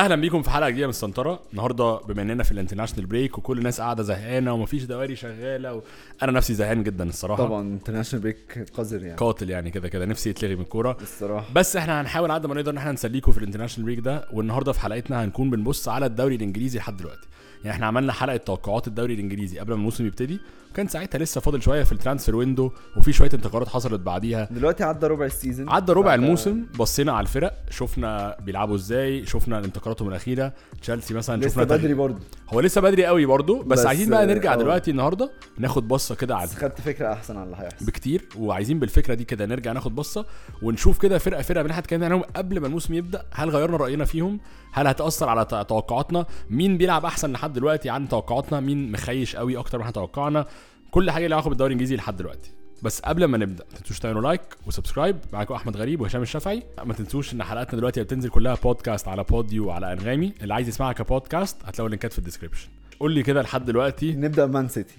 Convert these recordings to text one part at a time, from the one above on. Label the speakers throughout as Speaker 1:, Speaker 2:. Speaker 1: اهلا بيكم في حلقه جديده من السنطره النهارده بما اننا في الانترناشونال بريك وكل الناس قاعده زهقانه ومفيش دواري شغاله و... انا نفسي زهقان جدا الصراحه
Speaker 2: طبعا انترناشونال بريك قذر يعني
Speaker 1: قاتل يعني كده كده نفسي يتلغي من الكوره
Speaker 2: الصراحه
Speaker 1: بس احنا هنحاول قد ما نقدر ان احنا نسليكم في الانترناشونال بريك ده والنهارده في حلقتنا هنكون بنبص على الدوري الانجليزي لحد دلوقتي يعني احنا عملنا حلقه توقعات الدوري الانجليزي قبل ما الموسم يبتدي وكان ساعتها لسه فاضل شويه في الترانسفير ويندو وفي شويه انتقالات حصلت بعديها
Speaker 2: دلوقتي عدى ربع السيزون
Speaker 1: عدى ربع
Speaker 2: بعد-
Speaker 1: الموسم بصينا على الفرق شفنا بيلعبوا ازاي شفنا انتقالاتهم الاخيره تشيلسي مثلا
Speaker 2: لسه
Speaker 1: شفنا
Speaker 2: بدري
Speaker 1: تغيير.
Speaker 2: برضه
Speaker 1: هو لسه بدري قوي برضو بس,
Speaker 2: بس،
Speaker 1: عايزين بقى نرجع
Speaker 2: آه،
Speaker 1: دلوقتي النهارده ناخد بصه كده على
Speaker 2: بس خدت فكره احسن على اللي هيحصل
Speaker 1: بكتير وعايزين بالفكره دي كده نرجع ناخد بصه ونشوف كده فرقه فرقه بنحت كام عنهم قبل ما الموسم يبدا هل غيرنا راينا فيهم هل هتاثر على ت- توقعاتنا مين بيلعب احسن لحد دلوقتي عن توقعاتنا مين مخيش قوي اكتر ما احنا توقعنا كل حاجه ليها علاقه بالدوري الانجليزي لحد دلوقتي بس قبل ما نبدا ما تنسوش تعملوا لايك وسبسكرايب معاكم احمد غريب وهشام الشافعي ما تنسوش ان حلقاتنا دلوقتي بتنزل كلها بودكاست على بوديو وعلى انغامي اللي عايز يسمعها كبودكاست هتلاقوا اللينكات في الديسكربشن قول لي كده لحد دلوقتي
Speaker 2: نبدا بمان سيتي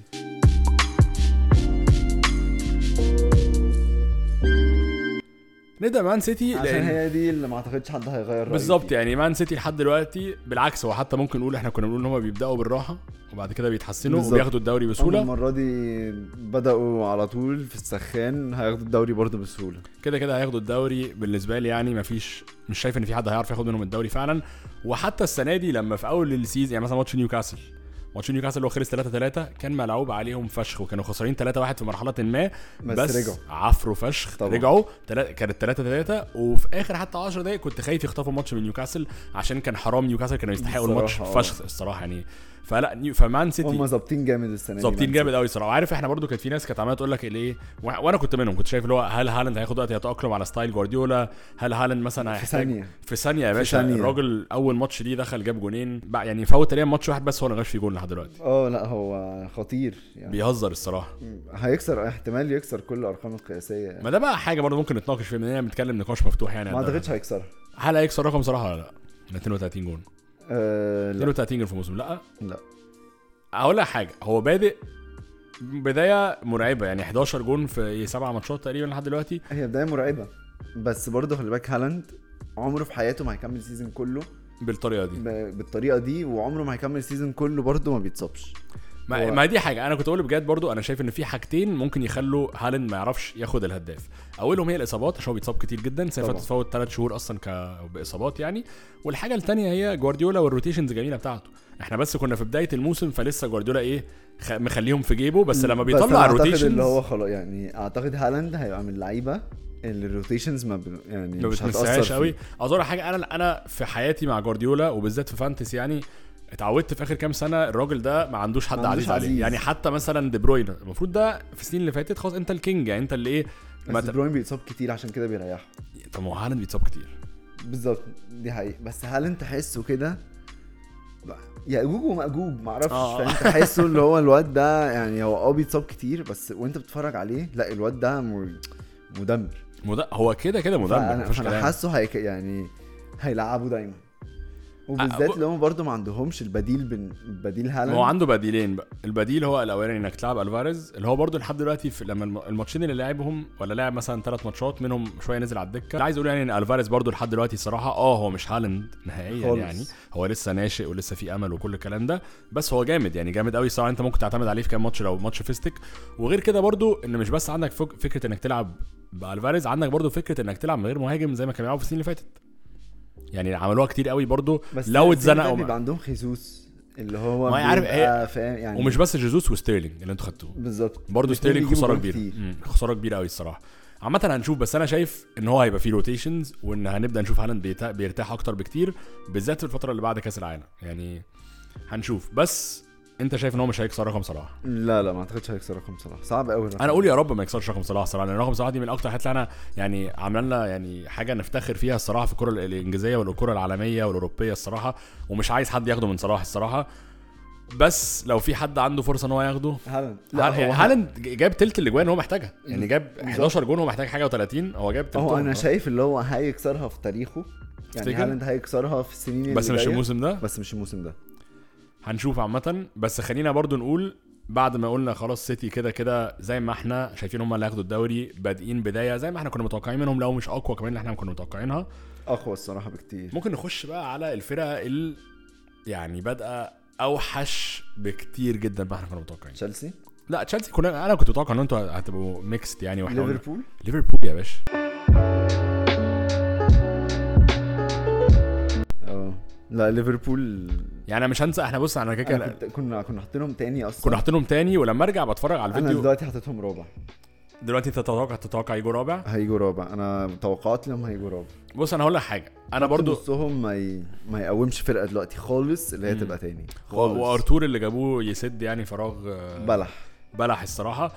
Speaker 1: نبدا مان سيتي
Speaker 2: عشان
Speaker 1: إيه، لأن-
Speaker 2: هي دي اللي ما اعتقدش حد هيغير رأيه
Speaker 1: بالظبط
Speaker 2: فيها.
Speaker 1: يعني مان سيتي لحد دلوقتي بالعكس هو حتى ممكن نقول احنا كنا بنقول ان هم بيبداوا بالراحه وبعد كده بيتحسنوا
Speaker 2: بالظبط.
Speaker 1: وبياخدوا الدوري
Speaker 2: هم
Speaker 1: بسهوله
Speaker 2: المره دي بداوا على طول في السخان هياخدوا الدوري برضه بسهوله
Speaker 1: كده كده هياخدوا الدوري بالنسبه لي يعني مفيش مش شايف ان في حد هيعرف ياخد منهم الدوري فعلا وحتى السنه دي لما في اول السيزون يعني مثلا ماتش نيوكاسل ماتش نيوكاسل اللي هو خلص 3 3 كان ملعوب عليهم فشخ وكانوا خسرانين 3 1 في مرحله ما
Speaker 2: بس رجعوا.
Speaker 1: عفروا فشخ
Speaker 2: طبعا.
Speaker 1: رجعوا تلا... كانت 3 3 وفي اخر حتى 10 دقايق كنت خايف يخطفوا ماتش من نيوكاسل عشان كان حرام نيوكاسل كانوا يستحقوا الماتش
Speaker 2: بصراحة، آه.
Speaker 1: فشخ الصراحه يعني فلا نيو... فمان سيتي
Speaker 2: هم ظابطين جامد السنه دي
Speaker 1: ظابطين
Speaker 2: مان
Speaker 1: جامد قوي صراحه وعارف احنا برضو كانت في ناس كانت عماله تقول لك الايه وأ- وانا كنت منهم كنت شايف اللي هو هل هالاند هياخد وقت يتاقلم على ستايل جوارديولا هل هالاند مثلا
Speaker 2: سيتي. في
Speaker 1: هيحتاج
Speaker 2: ثانيه
Speaker 1: في ثانيه يا
Speaker 2: في
Speaker 1: باشا
Speaker 2: ثانية.
Speaker 1: الراجل اول ماتش ليه دخل جاب جونين بقى- يعني فوت تقريبا ماتش واحد بس هو اللي ما جابش فيه جون لحد دلوقتي
Speaker 2: اه لا هو خطير يعني
Speaker 1: بيهزر الصراحه
Speaker 2: هيكسر احتمال يكسر كل الارقام القياسيه يعني.
Speaker 1: ما ده بقى حاجه برضو ممكن نتناقش فيها بما اننا بنتكلم نقاش مفتوح يعني
Speaker 2: ما اعتقدش هيكسرها
Speaker 1: هل هيكسر رقم صلاح ولا لا؟ 32 جون
Speaker 2: أه لا
Speaker 1: 32 جون في الموسم لا
Speaker 2: لا
Speaker 1: اقول لك حاجه هو بادئ بدايه مرعبه يعني 11 جون في سبع ماتشات تقريبا لحد دلوقتي
Speaker 2: هي بدايه مرعبه بس برضه خلي بالك هالاند عمره في حياته ما هيكمل سيزون كله
Speaker 1: بالطريقه دي
Speaker 2: ب- بالطريقه دي وعمره ما هيكمل سيزون كله برضه ما بيتصابش
Speaker 1: ما,
Speaker 2: هو-
Speaker 1: ما دي حاجه انا كنت اقول بجد برضو انا شايف ان في حاجتين ممكن يخلوا هالاند ما يعرفش ياخد الهداف اولهم هي الاصابات عشان هو بيتصاب كتير جدا سيفا
Speaker 2: طبعا.
Speaker 1: تتفاوت ثلاث شهور اصلا ك... باصابات يعني والحاجه الثانيه هي جوارديولا والروتيشنز الجميله بتاعته احنا بس كنا في بدايه الموسم فلسه جوارديولا ايه خ... مخليهم في جيبه بس لما
Speaker 2: أنا
Speaker 1: بيطلع
Speaker 2: أعتقد
Speaker 1: الروتيشنز
Speaker 2: اللي هو خلاص يعني اعتقد هالاند هيبقى من اللعيبه اللي الروتيشنز ما ب... يعني
Speaker 1: ما
Speaker 2: مش هتاثر
Speaker 1: بتنساهاش
Speaker 2: فيه.
Speaker 1: قوي عاوز اقول حاجه انا انا في حياتي مع جوارديولا وبالذات في فانتسي يعني اتعودت في اخر كام سنه الراجل ده ما عندوش حد
Speaker 2: ما عندوش
Speaker 1: عزيز, عليه
Speaker 2: عزيز.
Speaker 1: يعني حتى مثلا دي بروين المفروض ده في السنين اللي فاتت خلاص انت الكينج يعني انت اللي ايه ما
Speaker 2: بس
Speaker 1: ت...
Speaker 2: بروين بيتصاب كتير عشان كده بيريحه
Speaker 1: طب ما هو هالاند بيتصاب كتير
Speaker 2: بالظبط دي حقيقة بس هالاند تحسه كده ب- يأجوج ومأجوج معرفش
Speaker 1: آه.
Speaker 2: فاهم تحسه اللي هو الواد ده يعني هو اه بيتصاب كتير بس وانت بتتفرج عليه لا الواد ده م- مدمر
Speaker 1: مد... هو كده كده مدمر
Speaker 2: فانا
Speaker 1: مفيش
Speaker 2: فأنا
Speaker 1: كلام
Speaker 2: حاسه هيك يعني هيلعبوا دايما
Speaker 1: آه،
Speaker 2: وبالذات
Speaker 1: أه، و-
Speaker 2: اللي هم برضه ما عندهمش البديل بن... بديل
Speaker 1: ما هو
Speaker 2: هالاند
Speaker 1: عنده بديلين بقى البديل هو الاولاني انك تلعب الفاريز اللي هو برده لحد دلوقتي في لما الم- الماتشين اللي لعبهم ولا لعب مثلا ثلاث ماتشات منهم شويه نزل على الدكه ده عايز اقول يعني ان الفاريز برده لحد دلوقتي صراحه اه هو مش هالاند نهائيا
Speaker 2: خالص.
Speaker 1: يعني هو لسه ناشئ ولسه في امل وكل الكلام ده بس هو جامد يعني جامد قوي صراحه انت ممكن تعتمد عليه في كام ماتش لو ماتش فيستك وغير كده برده ان مش بس عندك فك... فكره انك تلعب بالفاريز عندك برده فكره انك تلعب من غير مهاجم زي ما كانوا بيلعبوا في السنين اللي فاتت يعني عملوها كتير قوي برده
Speaker 2: بس
Speaker 1: لو
Speaker 2: السنة
Speaker 1: اتزنقوا
Speaker 2: اللي
Speaker 1: مع-
Speaker 2: بيبقى عندهم خيسوس اللي هو
Speaker 1: ما هي عارف
Speaker 2: بيبقى فاهم يعني
Speaker 1: ومش بس جيزوس وستيرلينج اللي انتوا خدتوه
Speaker 2: بالظبط
Speaker 1: برضه
Speaker 2: الاتنين
Speaker 1: ستيرلينج
Speaker 2: بيجيبوا
Speaker 1: خساره
Speaker 2: جوان
Speaker 1: كبيره
Speaker 2: كتير.
Speaker 1: مم، خساره كبيره قوي الصراحه عامة هنشوف بس أنا شايف إن هو هيبقى فيه روتيشنز وإن هنبدأ نشوف هالاند بيتا- بيرتاح أكتر بكتير بالذات في الفترة اللي بعد كأس العالم يعني هنشوف بس أنت شايف إن هو مش هيكسر رقم صلاح
Speaker 2: لا لا ما اعتقدش هيكسر رقم صلاح صعب قوي
Speaker 1: أنا أقول يا رب ما يكسرش رقم صلاح صراحة لأن رقم صلاح دي من أكتر الحاجات اللي أنا يعني عاملة لنا يعني حاجة نفتخر فيها الصراحة في الكرة الإنجليزية والكرة العالمية والأوروبية الصراحة ومش عايز حد ياخده من صلاح الصراحة بس لو في حد عنده فرصة إن هو ياخده
Speaker 2: هالاند
Speaker 1: لا هو هالاند جاب تلت الاجوان هو محتاجها يعني جاب 11 جون هو محتاج حاجه و30 هو جاب تلت
Speaker 2: هو انا شايف اللي هو هيكسرها في تاريخه يعني
Speaker 1: تفتكر؟
Speaker 2: هالاند هيكسرها في السنين اللي
Speaker 1: بس مش
Speaker 2: جاية.
Speaker 1: الموسم ده
Speaker 2: بس مش الموسم ده
Speaker 1: هنشوف عامه بس خلينا برضو نقول بعد ما قلنا خلاص سيتي كده كده زي ما احنا شايفين هم اللي هياخدوا الدوري بادئين بدايه زي ما احنا كنا متوقعين منهم لو مش اقوى كمان اللي احنا كنا متوقعينها
Speaker 2: اقوى الصراحه بكتير
Speaker 1: ممكن نخش بقى على الفرقه ال يعني بادئه اوحش بكتير جدا بقى احنا كنا متوقعين
Speaker 2: تشيلسي
Speaker 1: لا تشيلسي كلنا انا كنت متوقع ان انتوا هتبقوا ميكست يعني واحنا قلنا-
Speaker 2: ليفربول
Speaker 1: ليفربول يا باشا
Speaker 2: اه لا ليفربول
Speaker 1: يعني انا مش هنسى احنا بص انا كده
Speaker 2: أنا
Speaker 1: كده
Speaker 2: كنت كنا كنا حاطينهم تاني اصلا
Speaker 1: كنا حاطينهم تاني ولما ارجع بتفرج على
Speaker 2: انا
Speaker 1: الفيديو
Speaker 2: دلوقتي حاططهم رابع
Speaker 1: دلوقتي انت تتوقع تتوقع يجوا رابع
Speaker 2: هيجوا رابع انا توقعات لهم هيجوا رابع
Speaker 1: بص انا هقول لك حاجه انا برضو
Speaker 2: نصهم ما ي... ما يقومش فرقه دلوقتي خالص اللي هي تبقى تاني
Speaker 1: و-
Speaker 2: خالص
Speaker 1: وارتور اللي جابوه يسد يعني فراغ آه،
Speaker 2: بلح
Speaker 1: بلح الصراحه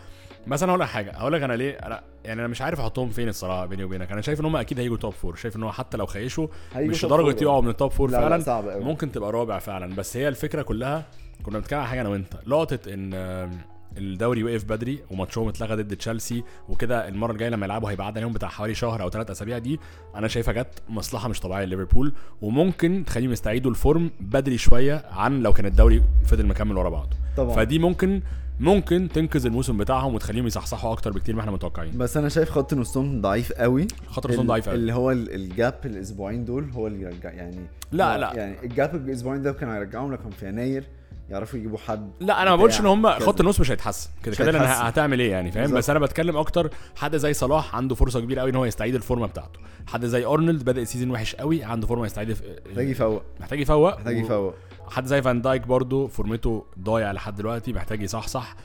Speaker 1: مثلا هقول لك حاجه هقول لك انا ليه انا يعني انا مش عارف احطهم فين الصراحه بيني وبينك انا شايف ان هم اكيد هيجوا توب فور شايف ان هو حتى لو خيشوا
Speaker 2: هيجوا
Speaker 1: مش
Speaker 2: توب
Speaker 1: لدرجه
Speaker 2: فور.
Speaker 1: يقعوا من التوب فور
Speaker 2: لا، لا،
Speaker 1: فعلا
Speaker 2: صعب أوي.
Speaker 1: ممكن تبقى رابع فعلا بس هي الفكره كلها كنا بنتكلم على حاجه انا وانت لقطه ان آم، الدوري وقف بدري وماتشهم اتلغى ضد تشيلسي وكده المره الجايه لما يلعبوا هيبقى عدى عليهم بتاع حوالي شهر او ثلاث اسابيع دي انا شايفها جت مصلحه مش طبيعيه لليفربول وممكن تخليهم يستعيدوا الفورم بدري شويه عن لو كان الدوري فضل مكمل ورا بعضه
Speaker 2: طبعا
Speaker 1: فدي ممكن ممكن تنقذ الموسم بتاعهم وتخليهم يصحصحوا اكتر بكتير ما احنا متوقعين
Speaker 2: بس انا شايف خط نصهم ضعيف قوي
Speaker 1: خط نصهم ضعيف قوي.
Speaker 2: اللي هو ال- الجاب الاسبوعين دول هو اللي يرجع يعني
Speaker 1: لا،
Speaker 2: هو-
Speaker 1: لا.
Speaker 2: يعني الجاب الاسبوعين ده كان هيرجعهم لو كان في يناير يعرفوا يجيبوا حد
Speaker 1: لا انا ما بقولش ان هم
Speaker 2: يعني كذا.
Speaker 1: خط النص مش هيتحسن كده
Speaker 2: مش
Speaker 1: كده لأن
Speaker 2: هيتحسن.
Speaker 1: هتعمل ايه يعني فاهم
Speaker 2: بالظبط.
Speaker 1: بس انا بتكلم اكتر حد زي صلاح عنده فرصه كبيره قوي ان هو يستعيد الفورمه بتاعته حد زي ارنولد بدا السيزون وحش قوي عنده فورمه يستعيد
Speaker 2: محتاج
Speaker 1: في...
Speaker 2: يفوق
Speaker 1: محتاج يفوق
Speaker 2: محتاج
Speaker 1: و-
Speaker 2: يفوق
Speaker 1: حد زي فان دايك برضو فورمته ضايعه لحد دلوقتي محتاج يصحصح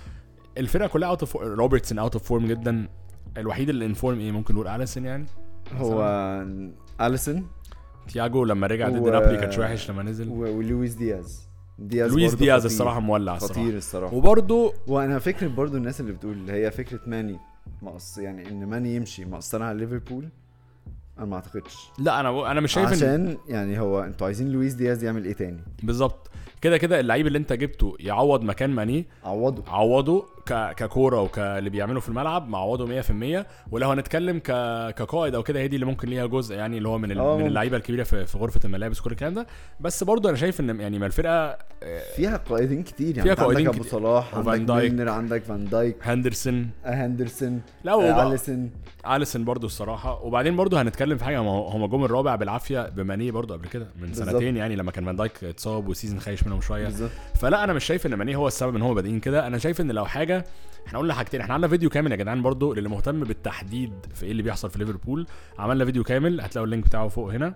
Speaker 1: الفرقه كلها اوت اوف روبرتسون اوت اوف فورم جدا الوحيد اللي انفورم ايه ممكن نقول اليسن يعني
Speaker 2: هو آه، اليسون
Speaker 1: تياجو لما رجع ضد
Speaker 2: و-
Speaker 1: نابولي كانش وحش لما نزل
Speaker 2: و- ولويس دياز دياز
Speaker 1: لويس
Speaker 2: برضه
Speaker 1: دياز
Speaker 2: خطير.
Speaker 1: الصراحه مولع الصراحه
Speaker 2: خطير الصراحه
Speaker 1: وبرده
Speaker 2: وانا فكره برضو الناس اللي بتقول اللي هي فكره ماني مقص يعني ان ماني يمشي مقصرها على ليفربول انا ما اعتقدش
Speaker 1: لا انا انا مش شايف ان
Speaker 2: عشان يعني هو انتوا عايزين لويس دياز يعمل ايه تاني
Speaker 1: بالظبط كده كده اللعيب اللي انت جبته يعوض مكان ماني
Speaker 2: عوضوا
Speaker 1: عوضه ك... ككوره وكاللي بيعمله في الملعب معوضه 100% ولو هنتكلم ك... كقائد او كده هي دي اللي ممكن ليها جزء يعني اللي هو من ال...
Speaker 2: آه.
Speaker 1: من اللعيبه الكبيره في... في غرفه الملابس كل الكلام ده بس برضه انا شايف ان يعني ما الفرقه آه،
Speaker 2: فيها قائدين كتير يعني
Speaker 1: فيها
Speaker 2: انت عندك
Speaker 1: قائدين
Speaker 2: ابو
Speaker 1: كتير.
Speaker 2: صلاح
Speaker 1: وفان
Speaker 2: عندك
Speaker 1: دايك.
Speaker 2: ميلنر عندك فان دايك
Speaker 1: هندرسون
Speaker 2: هندرسون
Speaker 1: لا وبقى-
Speaker 2: اليسون
Speaker 1: اليسون برضه الصراحه وبعدين برضه هنتكلم في حاجه ما هو- هما جم الرابع بالعافيه بمانيه برضه قبل كده من
Speaker 2: بالظبط.
Speaker 1: سنتين يعني لما كان فان دايك اتصاب والسيزون خايش منهم شويه
Speaker 2: بالظبط
Speaker 1: فلا انا مش شايف ان ماني هو السبب ان هم بادئين كده انا شايف ان لو حاجه احنا قلنا حاجتين احنا عملنا فيديو كامل يا جدعان برضو للي مهتم بالتحديد في ايه اللي بيحصل في ليفربول عملنا فيديو كامل هتلاقوا اللينك بتاعه فوق هنا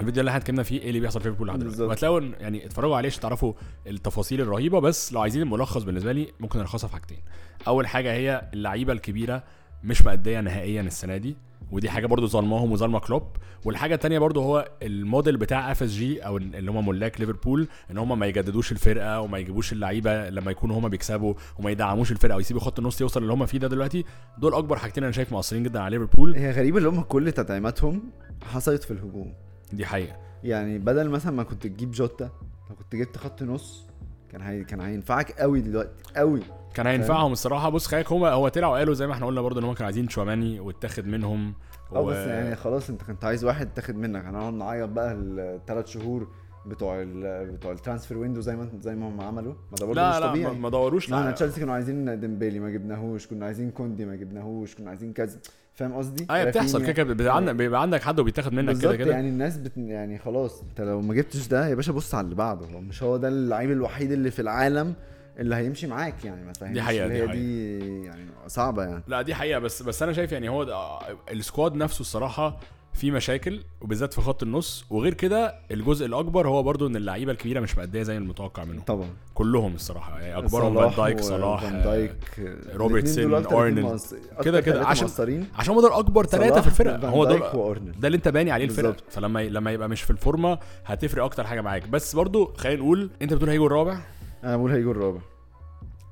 Speaker 1: الفيديو اللي احنا اتكلمنا فيه ايه اللي بيحصل في ليفربول لحد دلوقتي
Speaker 2: بالظبط.
Speaker 1: وهتلاقوا إن- يعني اتفرجوا عليه عشان تعرفوا التفاصيل الرهيبه بس لو عايزين الملخص بالنسبه لي ممكن الخصها في حاجتين اول حاجه هي اللعيبه الكبيره مش مأديه نهائيا السنه دي ودي حاجه برضو ظلماهم وظلمه كلوب والحاجه التانية برضو هو الموديل بتاع اف اس جي او اللي هم ملاك ليفربول ان هم ما يجددوش الفرقه وما يجيبوش اللعيبه لما يكونوا هم بيكسبوا وما يدعموش الفرقه ويسيبوا خط النص يوصل اللي هم فيه ده دلوقتي دول اكبر حاجتين انا شايف مؤثرين جدا على ليفربول
Speaker 2: هي غريبه اللي هم كل تدعيماتهم حصلت في الهجوم
Speaker 1: دي حقيقه
Speaker 2: يعني بدل مثلا ما كنت تجيب جوتا لو كنت جبت خط نص كان هي... كان هينفعك قوي دلوقتي قوي
Speaker 1: كان هينفعهم الصراحه بص خايف هو هو طلعوا قالوا زي ما احنا قلنا برضو ان هم كانوا عايزين تشواماني واتاخد منهم
Speaker 2: اه بس يعني خلاص انت كنت عايز واحد تاخد منك هنقعد نعيط بقى الثلاث شهور بتوع ال بتوع الترانسفير ويندو زي ما زي ما هم عملوا ما ده برضه
Speaker 1: لا
Speaker 2: مش
Speaker 1: لا ما-
Speaker 2: طبيعي
Speaker 1: ما دوروش
Speaker 2: احنا
Speaker 1: لا
Speaker 2: تشيلسي كانوا عايزين ديمبيلي ما جبناهوش كنا عايزين كوندي ما جبناهوش كنا عايزين كذا فاهم قصدي؟
Speaker 1: ايوه بتحصل كده كده
Speaker 2: رافينيا.
Speaker 1: بيبقى عندك بيبقى عندك حد وبيتاخد منك كده
Speaker 2: يعني بالظبط
Speaker 1: كده
Speaker 2: يعني الناس بت... يعني خلاص انت لو ما جبتش ده يا باشا بص على اللي بعده هو مش هو ده اللعيب الوحيد اللي في العالم اللي هيمشي معاك يعني ما تفهمش
Speaker 1: حقيقة،
Speaker 2: اللي
Speaker 1: دي
Speaker 2: هي
Speaker 1: حقيقة.
Speaker 2: دي يعني صعبه يعني
Speaker 1: لا دي حقيقه بس بس انا شايف يعني هو ده- السكواد نفسه الصراحه في مشاكل وبالذات في خط النص وغير كده الجزء الاكبر هو برضو ان اللعيبه الكبيره مش مأديه زي المتوقع منهم
Speaker 2: طبعا
Speaker 1: كلهم الصراحه يعني اكبرهم فان دايك
Speaker 2: و-
Speaker 1: صلاح
Speaker 2: فان
Speaker 1: آه،
Speaker 2: دايك
Speaker 1: روبرتسون، أرنولد. كده كده،
Speaker 2: كده كده
Speaker 1: عشان-
Speaker 2: عشان مؤثرين
Speaker 1: عشان هو ده اكبر ثلاثه
Speaker 2: صلاح،
Speaker 1: في الفرقه
Speaker 2: فان
Speaker 1: هو
Speaker 2: دايك
Speaker 1: دول
Speaker 2: وأرنولد.
Speaker 1: ده اللي انت باني عليه الفرقه
Speaker 2: بالظبط.
Speaker 1: فلما لما يبقى مش في الفورمه هتفرق اكتر حاجه معاك بس برضو خلينا نقول انت بتقول هيجوا الرابع
Speaker 2: انا بقول هيجوا الرابع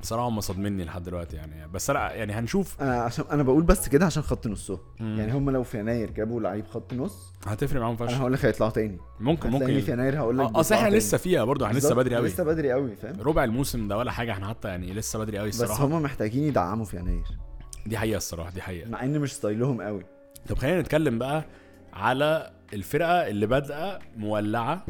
Speaker 1: بصراحه هم صادميني لحد دلوقتي يعني بس انا يعني هنشوف
Speaker 2: انا عشان انا بقول بس كده عشان خط نصهم
Speaker 1: مم.
Speaker 2: يعني هم لو في يناير جابوا لعيب خط نص
Speaker 1: هتفرق معاهم
Speaker 2: انا
Speaker 1: فشخ
Speaker 2: هقول لك هيطلعوا تاني
Speaker 1: ممكن ممكن
Speaker 2: هتلاقيني في يناير هقول لك
Speaker 1: آه، اصل احنا
Speaker 2: بيطلعوا
Speaker 1: لسه
Speaker 2: تاني.
Speaker 1: فيها برضه احنا لسه
Speaker 2: بالظبط،
Speaker 1: بدري قوي
Speaker 2: لسه بدري قوي فاهم
Speaker 1: ربع الموسم ده ولا حاجه احنا حتى يعني لسه بدري قوي
Speaker 2: بس
Speaker 1: الصراحه
Speaker 2: هم محتاجين يدعموا في يناير
Speaker 1: دي حقيقه الصراحه دي حقيقه
Speaker 2: مع ان مش ستايلهم قوي
Speaker 1: طب خلينا نتكلم بقى على الفرقه اللي بادئه مولعه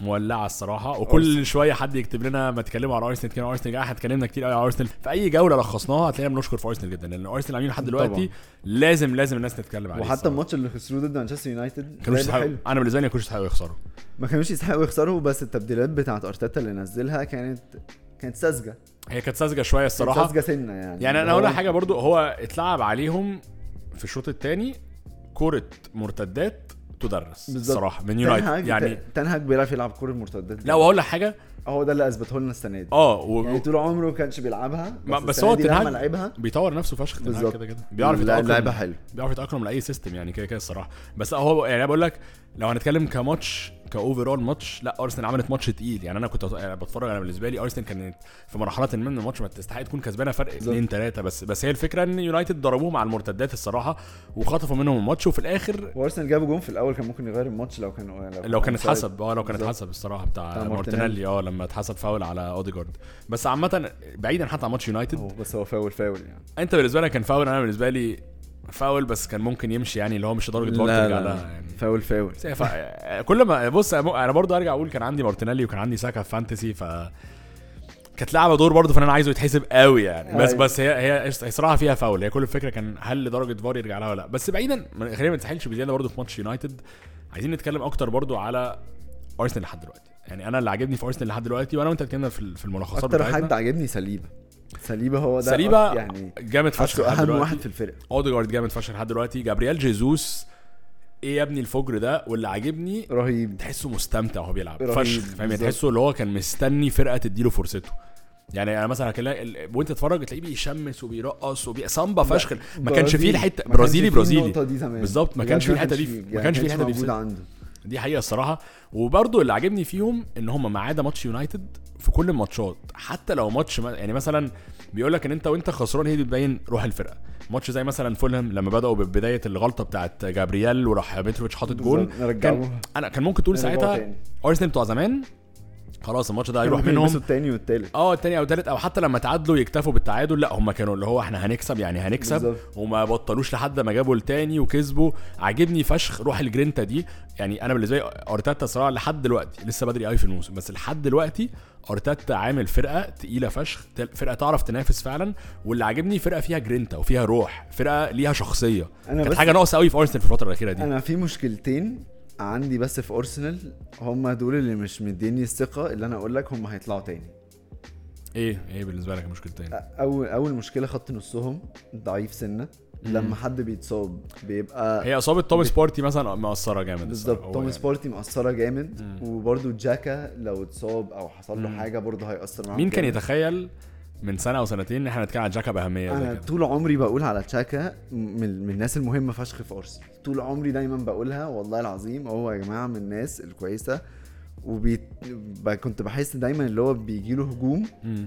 Speaker 1: مولعه الصراحه وكل شويه حد يكتب لنا ما تكلموا على ارسنال كده ارسنال احنا يعني اتكلمنا كتير قوي على ارسنال في اي جوله لخصناها هتلاقينا بنشكر في ارسنال جدا لان ارسنال عاملين لحد
Speaker 2: طبعاً.
Speaker 1: دلوقتي لازم لازم الناس تتكلم عليه
Speaker 2: وحتى
Speaker 1: الصراحة.
Speaker 2: الماتش اللي خسروه ضد مانشستر يونايتد
Speaker 1: كانوش
Speaker 2: لعب
Speaker 1: يستحقوا
Speaker 2: حلو.
Speaker 1: انا بالنسبه لي ما كانوش يستحقوا يخسروا
Speaker 2: ما كانوش يستحقوا يخسروا بس التبديلات بتاعت ارتيتا اللي نزلها كانت كانت ساذجه
Speaker 1: هي كانت ساذجه شويه
Speaker 2: كانت
Speaker 1: الصراحه
Speaker 2: ساذجه سنه يعني
Speaker 1: يعني انا
Speaker 2: اللي
Speaker 1: اقول
Speaker 2: هو
Speaker 1: لك حاجه برضو هو اتلعب عليهم في الشوط الثاني كره مرتدات تدرس
Speaker 2: بالظبط.
Speaker 1: الصراحه من
Speaker 2: تنهاج-
Speaker 1: يونايتد يعني
Speaker 2: تنهاج بيعرف يلعب كوره مرتدات
Speaker 1: لا واقول لك حاجه
Speaker 2: هو ده اللي اثبته لنا السنه دي
Speaker 1: اه و...
Speaker 2: يعني طول عمره ما كانش بيلعبها
Speaker 1: ما-
Speaker 2: بس,
Speaker 1: بس
Speaker 2: السنة
Speaker 1: هو
Speaker 2: دي لما
Speaker 1: تنهاج-
Speaker 2: لعبها
Speaker 1: بيطور نفسه فشخ تنهاج
Speaker 2: بالظبط.
Speaker 1: كده كده بيعرف
Speaker 2: لعب-
Speaker 1: يتاقلم
Speaker 2: لعبه حلو
Speaker 1: بيعرف يتاقلم لاي سيستم يعني كده كده الصراحه بس هو يعني بقول لك لو هنتكلم كماتش كاوفرول ماتش لا ارسنال عملت ماتش تقيل يعني انا كنت أت- يعني بتفرج انا بالنسبه لي ارسنال كانت في مرحله ما من الماتش ما تستحق تكون كسبانه فرق 2 3 بس بس هي الفكره ان يونايتد ضربوهم على المرتدات الصراحه وخطفوا منهم الماتش وفي الاخر
Speaker 2: وارسنال جابوا جون في الاول كان ممكن يغير الماتش لو كان
Speaker 1: لو كان
Speaker 2: أوفسايد.
Speaker 1: اتحسب اه لو كان
Speaker 2: بالظبط.
Speaker 1: اتحسب الصراحه بتاع
Speaker 2: بتاع
Speaker 1: مارتينيلي اه لما اتحسب فاول على اوديجارد بس عامه بعيدا حتى عن ماتش
Speaker 2: هو
Speaker 1: يونايتد
Speaker 2: بس هو فاول فاول يعني
Speaker 1: انت بالنسبه لك كان فاول انا بالنسبه لي فاول بس كان ممكن يمشي يعني اللي هو مش لدرجه وقت ترجع لها يعني
Speaker 2: فاول فاول
Speaker 1: بس هي فا- كل ما بص انا برضه ارجع اقول كان عندي مارتينيلي وكان عندي ساكا في فانتسي ف كانت لعبه دور برضه فان انا عايزه يتحسب قوي يعني بس
Speaker 2: أيوة.
Speaker 1: بس هي هي الصراحه فيها فاول هي كل الفكره كان هل لدرجه فار يرجع لها ولا لا بس بعيدا من- خلينا ما نتسحلش بزياده برضه في ماتش يونايتد عايزين نتكلم اكتر برضه على ارسنال لحد دلوقتي يعني انا اللي عاجبني في ارسنال لحد دلوقتي وانا وانت اتكلمنا في ال- في الملخصات
Speaker 2: اكتر حد
Speaker 1: بتاعتنا
Speaker 2: عاجبني سليبه سليبه هو ده
Speaker 1: سليبة
Speaker 2: يعني
Speaker 1: جامد فشخ
Speaker 2: حاسه
Speaker 1: لحد
Speaker 2: اهم
Speaker 1: دلوقتي
Speaker 2: واحد في الفرقه
Speaker 1: اوديجارد جامد فشخ لحد دلوقتي جابرييل جيزوس ايه يا ابني الفجر ده واللي عاجبني
Speaker 2: رهيب
Speaker 1: تحسه مستمتع وهو بيلعب
Speaker 2: رهيب،
Speaker 1: فشخ فاهم يعني
Speaker 2: بالظبط.
Speaker 1: تحسه اللي هو كان مستني فرقه تديله فرصته يعني انا مثلا هكلم- ال- وانت تتفرج تلاقيه بيشمس وبيرقص وبي سامبا فشخ ما كانش فيه
Speaker 2: برازيل.
Speaker 1: الحته
Speaker 2: ما كانش
Speaker 1: برازيلي
Speaker 2: فيه
Speaker 1: برازيلي
Speaker 2: النقطة دي زمان.
Speaker 1: بالظبط، ما
Speaker 2: بجد
Speaker 1: كانش فيه الحتة دي في-
Speaker 2: فيه.
Speaker 1: ما
Speaker 2: يعني
Speaker 1: كانش فيه الحتة دي في
Speaker 2: موجودة عنده
Speaker 1: دي حقيقه الصراحه وبرضه اللي عاجبني فيهم ان هم ما عدا ماتش يونايتد في كل الماتشات حتى لو ماتش ما- يعني مثلا بيقول لك ان انت وانت خسران هي اللي بتبين روح الفرقه ماتش زي مثلا فولهام لما بداوا ببدايه الغلطه بتاعت جابرييل وراح متروفيتش حاطط جول
Speaker 2: بالظبط، رجعوها.
Speaker 1: كان انا كان ممكن تقول
Speaker 2: رجعوها
Speaker 1: ساعتها
Speaker 2: تاني.
Speaker 1: ارسنال بتوع زمان خلاص الماتش ده هيروح
Speaker 2: ممكن
Speaker 1: منهم
Speaker 2: يلبسوا التاني والتالت
Speaker 1: اه التاني او تالت او حتى لما تعادلوا يكتفوا بالتعادل لا هم كانوا اللي هو احنا هنكسب يعني هنكسب
Speaker 2: بالظبط.
Speaker 1: وما بطلوش لحد ما جابوا التاني وكسبوا عاجبني فشخ روح الجرينتا دي يعني انا بالنسبه لي ارتيتا صراحه لحد دلوقتي لسه بدري قوي في الموسم بس لحد دلوقتي ارتيتا عامل فرقه تقيله فشخ تل- فرقه تعرف تنافس فعلا واللي عاجبني فرقه فيها جرينتا وفيها روح فرقه ليها شخصيه
Speaker 2: أنا
Speaker 1: كانت
Speaker 2: بس-
Speaker 1: حاجه ناقصه قوي في ارسنال في الفتره الاخيره دي
Speaker 2: انا في مشكلتين عندي بس في ارسنال هم دول اللي مش مديني الثقه اللي انا اقول لك هم هيطلعوا تاني
Speaker 1: ايه ايه بالنسبه لك مشكلتين
Speaker 2: اول اول مشكله خط نصهم ضعيف سنه لما حد بيتصاب بيبقى
Speaker 1: هي اصابه توماس بارتي مثلا مأثره جامد الصراحة. هو
Speaker 2: بالظبط توماس
Speaker 1: يعني.
Speaker 2: بارتي مأثرة جامد وبرده جاكا لو اتصاب او حصل له حاجه برده هيأثر معاه
Speaker 1: مين كان
Speaker 2: آه، جامد.
Speaker 1: يتخيل من سنه او سنتين ان احنا نتكلم على جاكا باهميه زي
Speaker 2: انا
Speaker 1: كده
Speaker 2: طول عمري بقول على تشاكا من, من الناس المهمه فشخ في ارسنال طول عمري دايما بقولها والله العظيم هو يا جماعه من الناس الكويسه وبي... ب- كنت بحس دايما اللي هو بيجي له هجوم
Speaker 1: مم.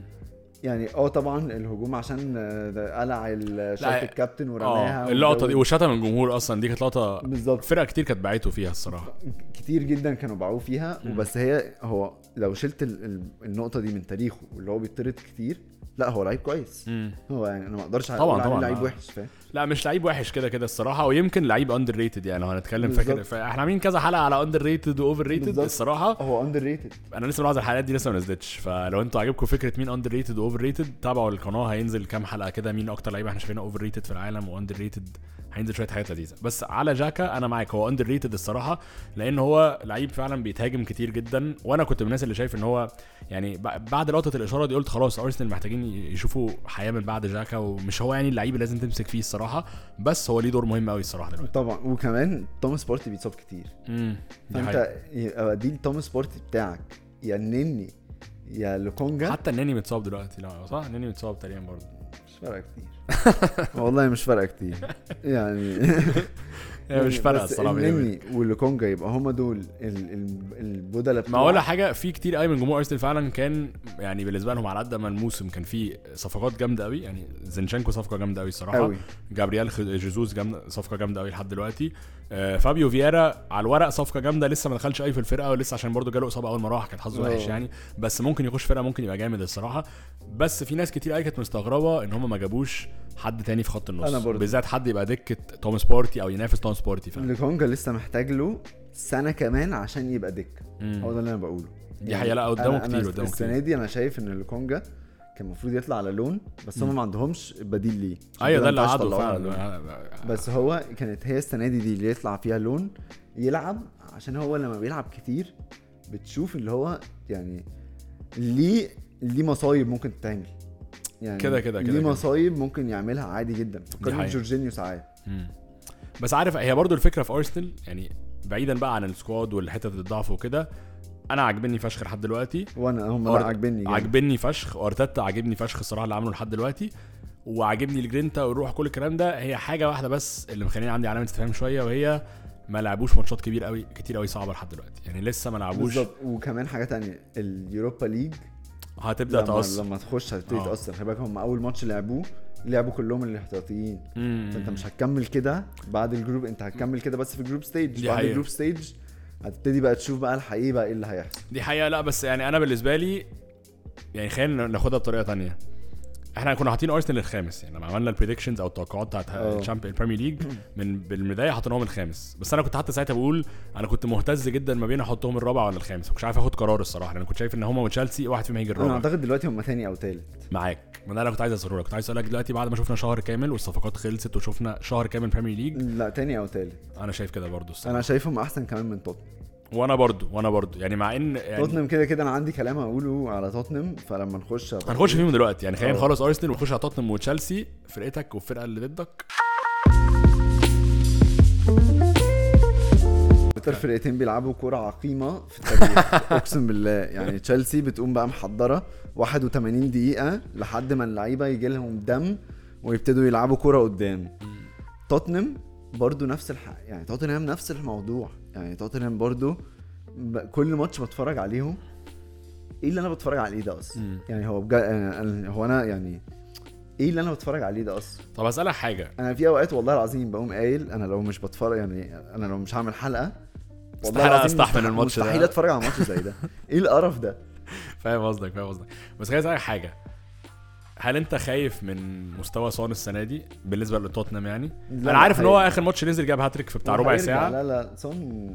Speaker 2: يعني اه طبعا الهجوم عشان آه، ده قلع ال- شرط
Speaker 1: لا،
Speaker 2: الكابتن ورماها
Speaker 1: اه اللقطه
Speaker 2: والجو
Speaker 1: دي وشتم الجمهور اصلا دي كانت لقطه
Speaker 2: بالظبط
Speaker 1: فرقه كتير كانت باعته فيها الصراحه
Speaker 2: كتير جدا كانوا باعوه فيها وبس هي هو لو شلت ال- ال- النقطه دي من تاريخه واللي هو بيطرد كتير لا هو لعيب كويس
Speaker 1: مم.
Speaker 2: هو يعني انا ما اقدرش
Speaker 1: طبعاً،
Speaker 2: اقول عليه
Speaker 1: طبعاً،
Speaker 2: لعيب
Speaker 1: آه.
Speaker 2: وحش فاهم
Speaker 1: لا مش لعيب وحش كده كده الصراحه ويمكن لعيب اندر ريتد يعني لو هنتكلم فاكر
Speaker 2: بالظبط.
Speaker 1: فاحنا عاملين كذا حلقه على اندر ريتد واوفر ريتد
Speaker 2: بالظبط.
Speaker 1: الصراحه
Speaker 2: هو اندر ريتد
Speaker 1: انا لسه ملاحظ الحلقات دي لسه ما نزلتش فلو انتوا عاجبكم فكره مين اندر ريتد واوفر ريتد تابعوا القناه هينزل كام حلقه كده مين اكتر لعيبه احنا شايفينها اوفر ريتد في العالم واندر ريتد هينزل شويه حاجات لذيذه بس على جاكا انا معاك هو اندر ريتد الصراحه لان هو لعيب فعلا بيتهاجم كتير جدا وانا كنت من الناس اللي شايف ان هو يعني ب- بعد لقطه الاشاره دي قلت خلاص ارسنال محتاجين ي- يشوفوا حياه من بعد جاكا ومش هو يعني اللعيب اللي لازم تمسك فيه الصراحه بس هو ليه دور مهم قوي الصراحه دلوقتي
Speaker 2: طبعا وكمان توماس بارتي بيتصاب كتير
Speaker 1: امم دي حقيقة.
Speaker 2: فانت يبقى دي التوماس بارتي بتاعك يا النني يا لوكونجا
Speaker 1: حتى النني متصاب دلوقتي لا صح النني متصاب تقريبا برضه
Speaker 2: مش فارقه كتير والله مش فارقه كتير يعني
Speaker 1: هي مش فارقه
Speaker 2: بس
Speaker 1: الصراحه بيني وبينك.
Speaker 2: النني واللوكونجا يبقى هما دول ال- ال- البودلة
Speaker 1: ما ولا حاجه في كتير قوي من جمهور ارسنال فعلا كان يعني بالنسبه لهم على قد ما الموسم كان فيه صفقات جامده قوي يعني زنشانكو صفقه جامده قوي الصراحه
Speaker 2: قوي.
Speaker 1: جابرييل خ- جيزوس جامده صفقه جامده قوي لحد دلوقتي آه، فابيو فييرا على الورق صفقه جامده لسه ما دخلش قوي في الفرقه ولسه عشان برضه جاله اصابه اول ما راح كانت حظه
Speaker 2: أوه.
Speaker 1: وحش يعني بس ممكن يخش فرقه ممكن يبقى جامد الصراحه بس في ناس كتير قوي كانت مستغربه ان هم ما جابوش حد تاني في خط النص
Speaker 2: أنا برضه.
Speaker 1: بالذات حد يبقى دكه توماس بارتي او بينافس تونس بارتي فعلا
Speaker 2: لكونجا لسه محتاج له سنه كمان عشان يبقى دكه هو ده اللي انا بقوله يعني
Speaker 1: دي حقيقة، لا، قدامه
Speaker 2: أنا-
Speaker 1: كتير،
Speaker 2: أنا
Speaker 1: قدامه
Speaker 2: السنه
Speaker 1: كتير.
Speaker 2: دي انا شايف ان لكونجا كان المفروض يطلع على لون بس هم ما عندهمش بديل ليه عشان
Speaker 1: ايوه
Speaker 2: كده
Speaker 1: ده اللي آه،
Speaker 2: ما
Speaker 1: قعدوا
Speaker 2: ينفعش يطلعوه على لون.
Speaker 1: فعلا
Speaker 2: بس هو كانت هي السنه دي دي اللي يطلع فيها لون يلعب عشان هو لما بيلعب كتير بتشوف اللي هو يعني ليه ليه مصايب ممكن تتعمل يعني
Speaker 1: كده- كده- كده-
Speaker 2: ليه
Speaker 1: كده.
Speaker 2: مصايب ممكن يعملها عادي جدا فكرني
Speaker 1: حقيقة.
Speaker 2: جورجينيو ساعات
Speaker 1: مم. بس عارف هي برضو الفكره في ارسنال يعني بعيدا بقى عن السكواد والحتت الضعف وكده انا عاجبني فشخ لحد دلوقتي
Speaker 2: وانا هم
Speaker 1: أرت-
Speaker 2: لا عاجبني جدا.
Speaker 1: عاجبني فشخ وارتيتا عاجبني فشخ الصراحه اللي عامله لحد دلوقتي وعاجبني الجرينتا والروح كل الكلام ده هي حاجه واحده بس اللي مخليني عندي علامه استفهام شويه وهي ما لعبوش ماتشات كبير قوي كتير قوي صعبه لحد دلوقتي يعني لسه ما لعبوش
Speaker 2: بالظبط وكمان حاجه تانية اليوروبا ليج
Speaker 1: هتبدا
Speaker 2: لما,
Speaker 1: تاثر
Speaker 2: لما تخش هتبتدي
Speaker 1: آه.
Speaker 2: تاثر خلي بالك هم اول ماتش لعبوه لعبوا كلهم الاحتياطيين
Speaker 1: مم.
Speaker 2: فانت مش هتكمل كده بعد الجروب انت هتكمل كده بس في الجروب ستيج
Speaker 1: دي
Speaker 2: بعد
Speaker 1: حقيقة.
Speaker 2: الجروب ستيج هتبتدي بقى تشوف بقى الحقيقه بقى ايه اللي هيحصل
Speaker 1: دي حقيقه لا بس يعني انا بالنسبه لي يعني خلينا ناخدها بطريقه تانية احنا كنا حاطين ارسنال الخامس يعني لما عملنا البريدكشنز او التوقعات بتاعت
Speaker 2: اه.
Speaker 1: الشامب البريمير ليج من بالبدايه حطيناهم الخامس بس انا كنت حتى ساعتها بقول انا كنت مهتز جدا ما بين احطهم الرابع ولا الخامس مش عارف اخد قرار الصراحه لان كنت شايف ان هما وتشيلسي واحد فيهم هيجي
Speaker 2: انا
Speaker 1: الرابع
Speaker 2: اعتقد دلوقتي هم تاني او تالت
Speaker 1: معاك ما ده اللي كنت عايز اساله لك كنت عايز اسالك دلوقتي بعد ما شفنا شهر كامل والصفقات خلصت وشفنا شهر كامل بريمير ليج
Speaker 2: لا تاني او تالت
Speaker 1: انا شايف كده برضو الصراحه
Speaker 2: انا شايفهم احسن كمان من توتنهام
Speaker 1: وانا برضو وانا برضو يعني مع ان يعني
Speaker 2: توتنهام كده كده انا عندي كلام هقوله على توتنهام فلما نخش هبقى
Speaker 1: هنخش فيهم دلوقتي يعني خلينا
Speaker 2: اه.
Speaker 1: نخلص ارسنال ونخش على توتنهام وتشيلسي فرقتك والفرقه اللي ضدك
Speaker 2: اكتر فرقتين بيلعبوا كرة عقيمة في التاريخ اقسم بالله يعني تشيلسي بتقوم بقى محضرة 81 دقيقة لحد ما اللعيبة يجي لهم دم ويبتدوا يلعبوا كرة قدام توتنهام برضو نفس الح... يعني توتنهام نفس الموضوع يعني توتنهام برضو ب... كل ماتش بتفرج عليهم ايه اللي انا بتفرج عليه ده اصلا
Speaker 1: مم.
Speaker 2: يعني هو بجد أنا- أنا- هو انا يعني ايه اللي انا بتفرج عليه ده اصلا
Speaker 1: طب اسالك حاجه
Speaker 2: انا في اوقات والله العظيم بقوم قايل انا لو مش بتفرج يعني انا لو مش هعمل حلقه
Speaker 1: استحالة
Speaker 2: العظيم
Speaker 1: أستحمل
Speaker 2: مستحيل-
Speaker 1: الماتش ده.
Speaker 2: مستحيل اتفرج على ماتش زي ده ايه القرف ده
Speaker 1: فاهم قصدك فاهم قصدك بس خليني اسالك حاجه هل انت خايف من مستوى سون السنه دي بالنسبه لتوتنهام يعني
Speaker 2: لا،
Speaker 1: انا عارف ان هو
Speaker 2: هيرجع.
Speaker 1: اخر ماتش نزل جاب هاتريك في بتاع ربع
Speaker 2: وهيرجع.
Speaker 1: ساعه
Speaker 2: لا لا صن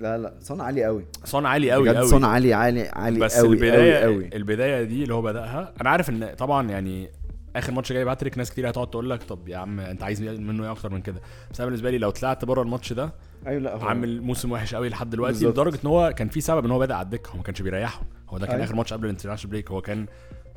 Speaker 2: لا لا صن عالي قوي
Speaker 1: سون عالي قوي
Speaker 2: بجد صن
Speaker 1: قوي
Speaker 2: عالي عالي عالي
Speaker 1: بس
Speaker 2: قوي
Speaker 1: البدايه
Speaker 2: قوي قوي
Speaker 1: البدايه دي اللي هو بداها انا عارف ان طبعا يعني اخر ماتش جايب هاتريك ناس كتير هتقعد تقول لك طب يا عم انت عايز منه ايه اكتر من كده بس انا بالنسبه لي لو طلعت بره الماتش ده
Speaker 2: ايوه لا هو
Speaker 1: عامل موسم وحش قوي لحد دلوقتي
Speaker 2: بالظبط.
Speaker 1: لدرجه ان هو كان في سبب ان هو بدا على الدكه هو ما كانش بيريحه هو ده كان
Speaker 2: أيوة.
Speaker 1: اخر ماتش قبل الانترناشونال بريك هو كان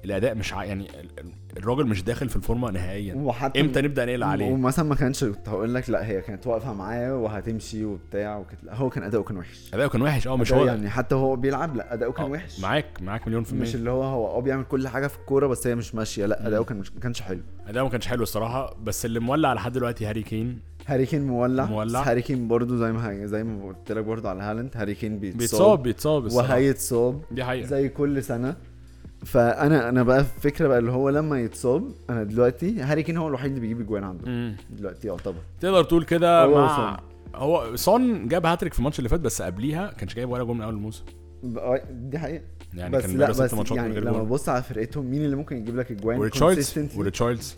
Speaker 1: الاداء مش ع... يعني ال- ال- الراجل مش داخل في الفورمه نهائيا
Speaker 2: وحتى
Speaker 1: امتى نبدا نقلق عليه
Speaker 2: ومثلا ما كانش كنت هقول لك لا هي كانت واقفه معاه وهتمشي وبتاع وكت... لا هو كان اداؤه كان وحش
Speaker 1: اداؤه كان وحش اه مش
Speaker 2: أداؤه
Speaker 1: هو
Speaker 2: يعني حتى هو بيلعب لا اداؤه كان
Speaker 1: آه،
Speaker 2: وحش
Speaker 1: معاك معاك مليون في
Speaker 2: مش
Speaker 1: المية
Speaker 2: اللي هو هو اه بيعمل كل حاجه في الكوره بس هي مش ماشيه لا اداؤه كان مش... ما كانش حلو
Speaker 1: اداؤه ما كانش حلو الصراحه بس اللي مولع لحد دلوقتي هاري كين
Speaker 2: هاري كين مولع
Speaker 1: مولع.
Speaker 2: مولع هاري كين برضه زي ما هي- زي ما قلت لك برضه على هالاند هاري كين
Speaker 1: بيتصاب
Speaker 2: بيتصاب
Speaker 1: بيتصاب الصراحة.
Speaker 2: وهيتصاب
Speaker 1: دي حقيقه
Speaker 2: زي كل سنه فانا انا بقى الفكره بقى اللي هو لما يتصاب انا دلوقتي هاري كين هو الوحيد اللي بيجيب اجوان عنده
Speaker 1: مم.
Speaker 2: دلوقتي يعتبر
Speaker 1: تقدر تقول كده
Speaker 2: هو
Speaker 1: مع هو سون جاب هاتريك في الماتش اللي فات بس قبليها كانش جايب ولا جول من اول الموسم
Speaker 2: بقى- آه، دي حقيقه
Speaker 1: يعني
Speaker 2: بس
Speaker 1: كان
Speaker 2: لا
Speaker 1: بقاله ست
Speaker 2: بس
Speaker 1: ماتشات من
Speaker 2: يعني
Speaker 1: غير
Speaker 2: لما
Speaker 1: جول.
Speaker 2: ببص على فرقتهم مين اللي ممكن يجيب لك اجوان
Speaker 1: وريتشاردز
Speaker 2: consistently؟
Speaker 1: وريتشاردز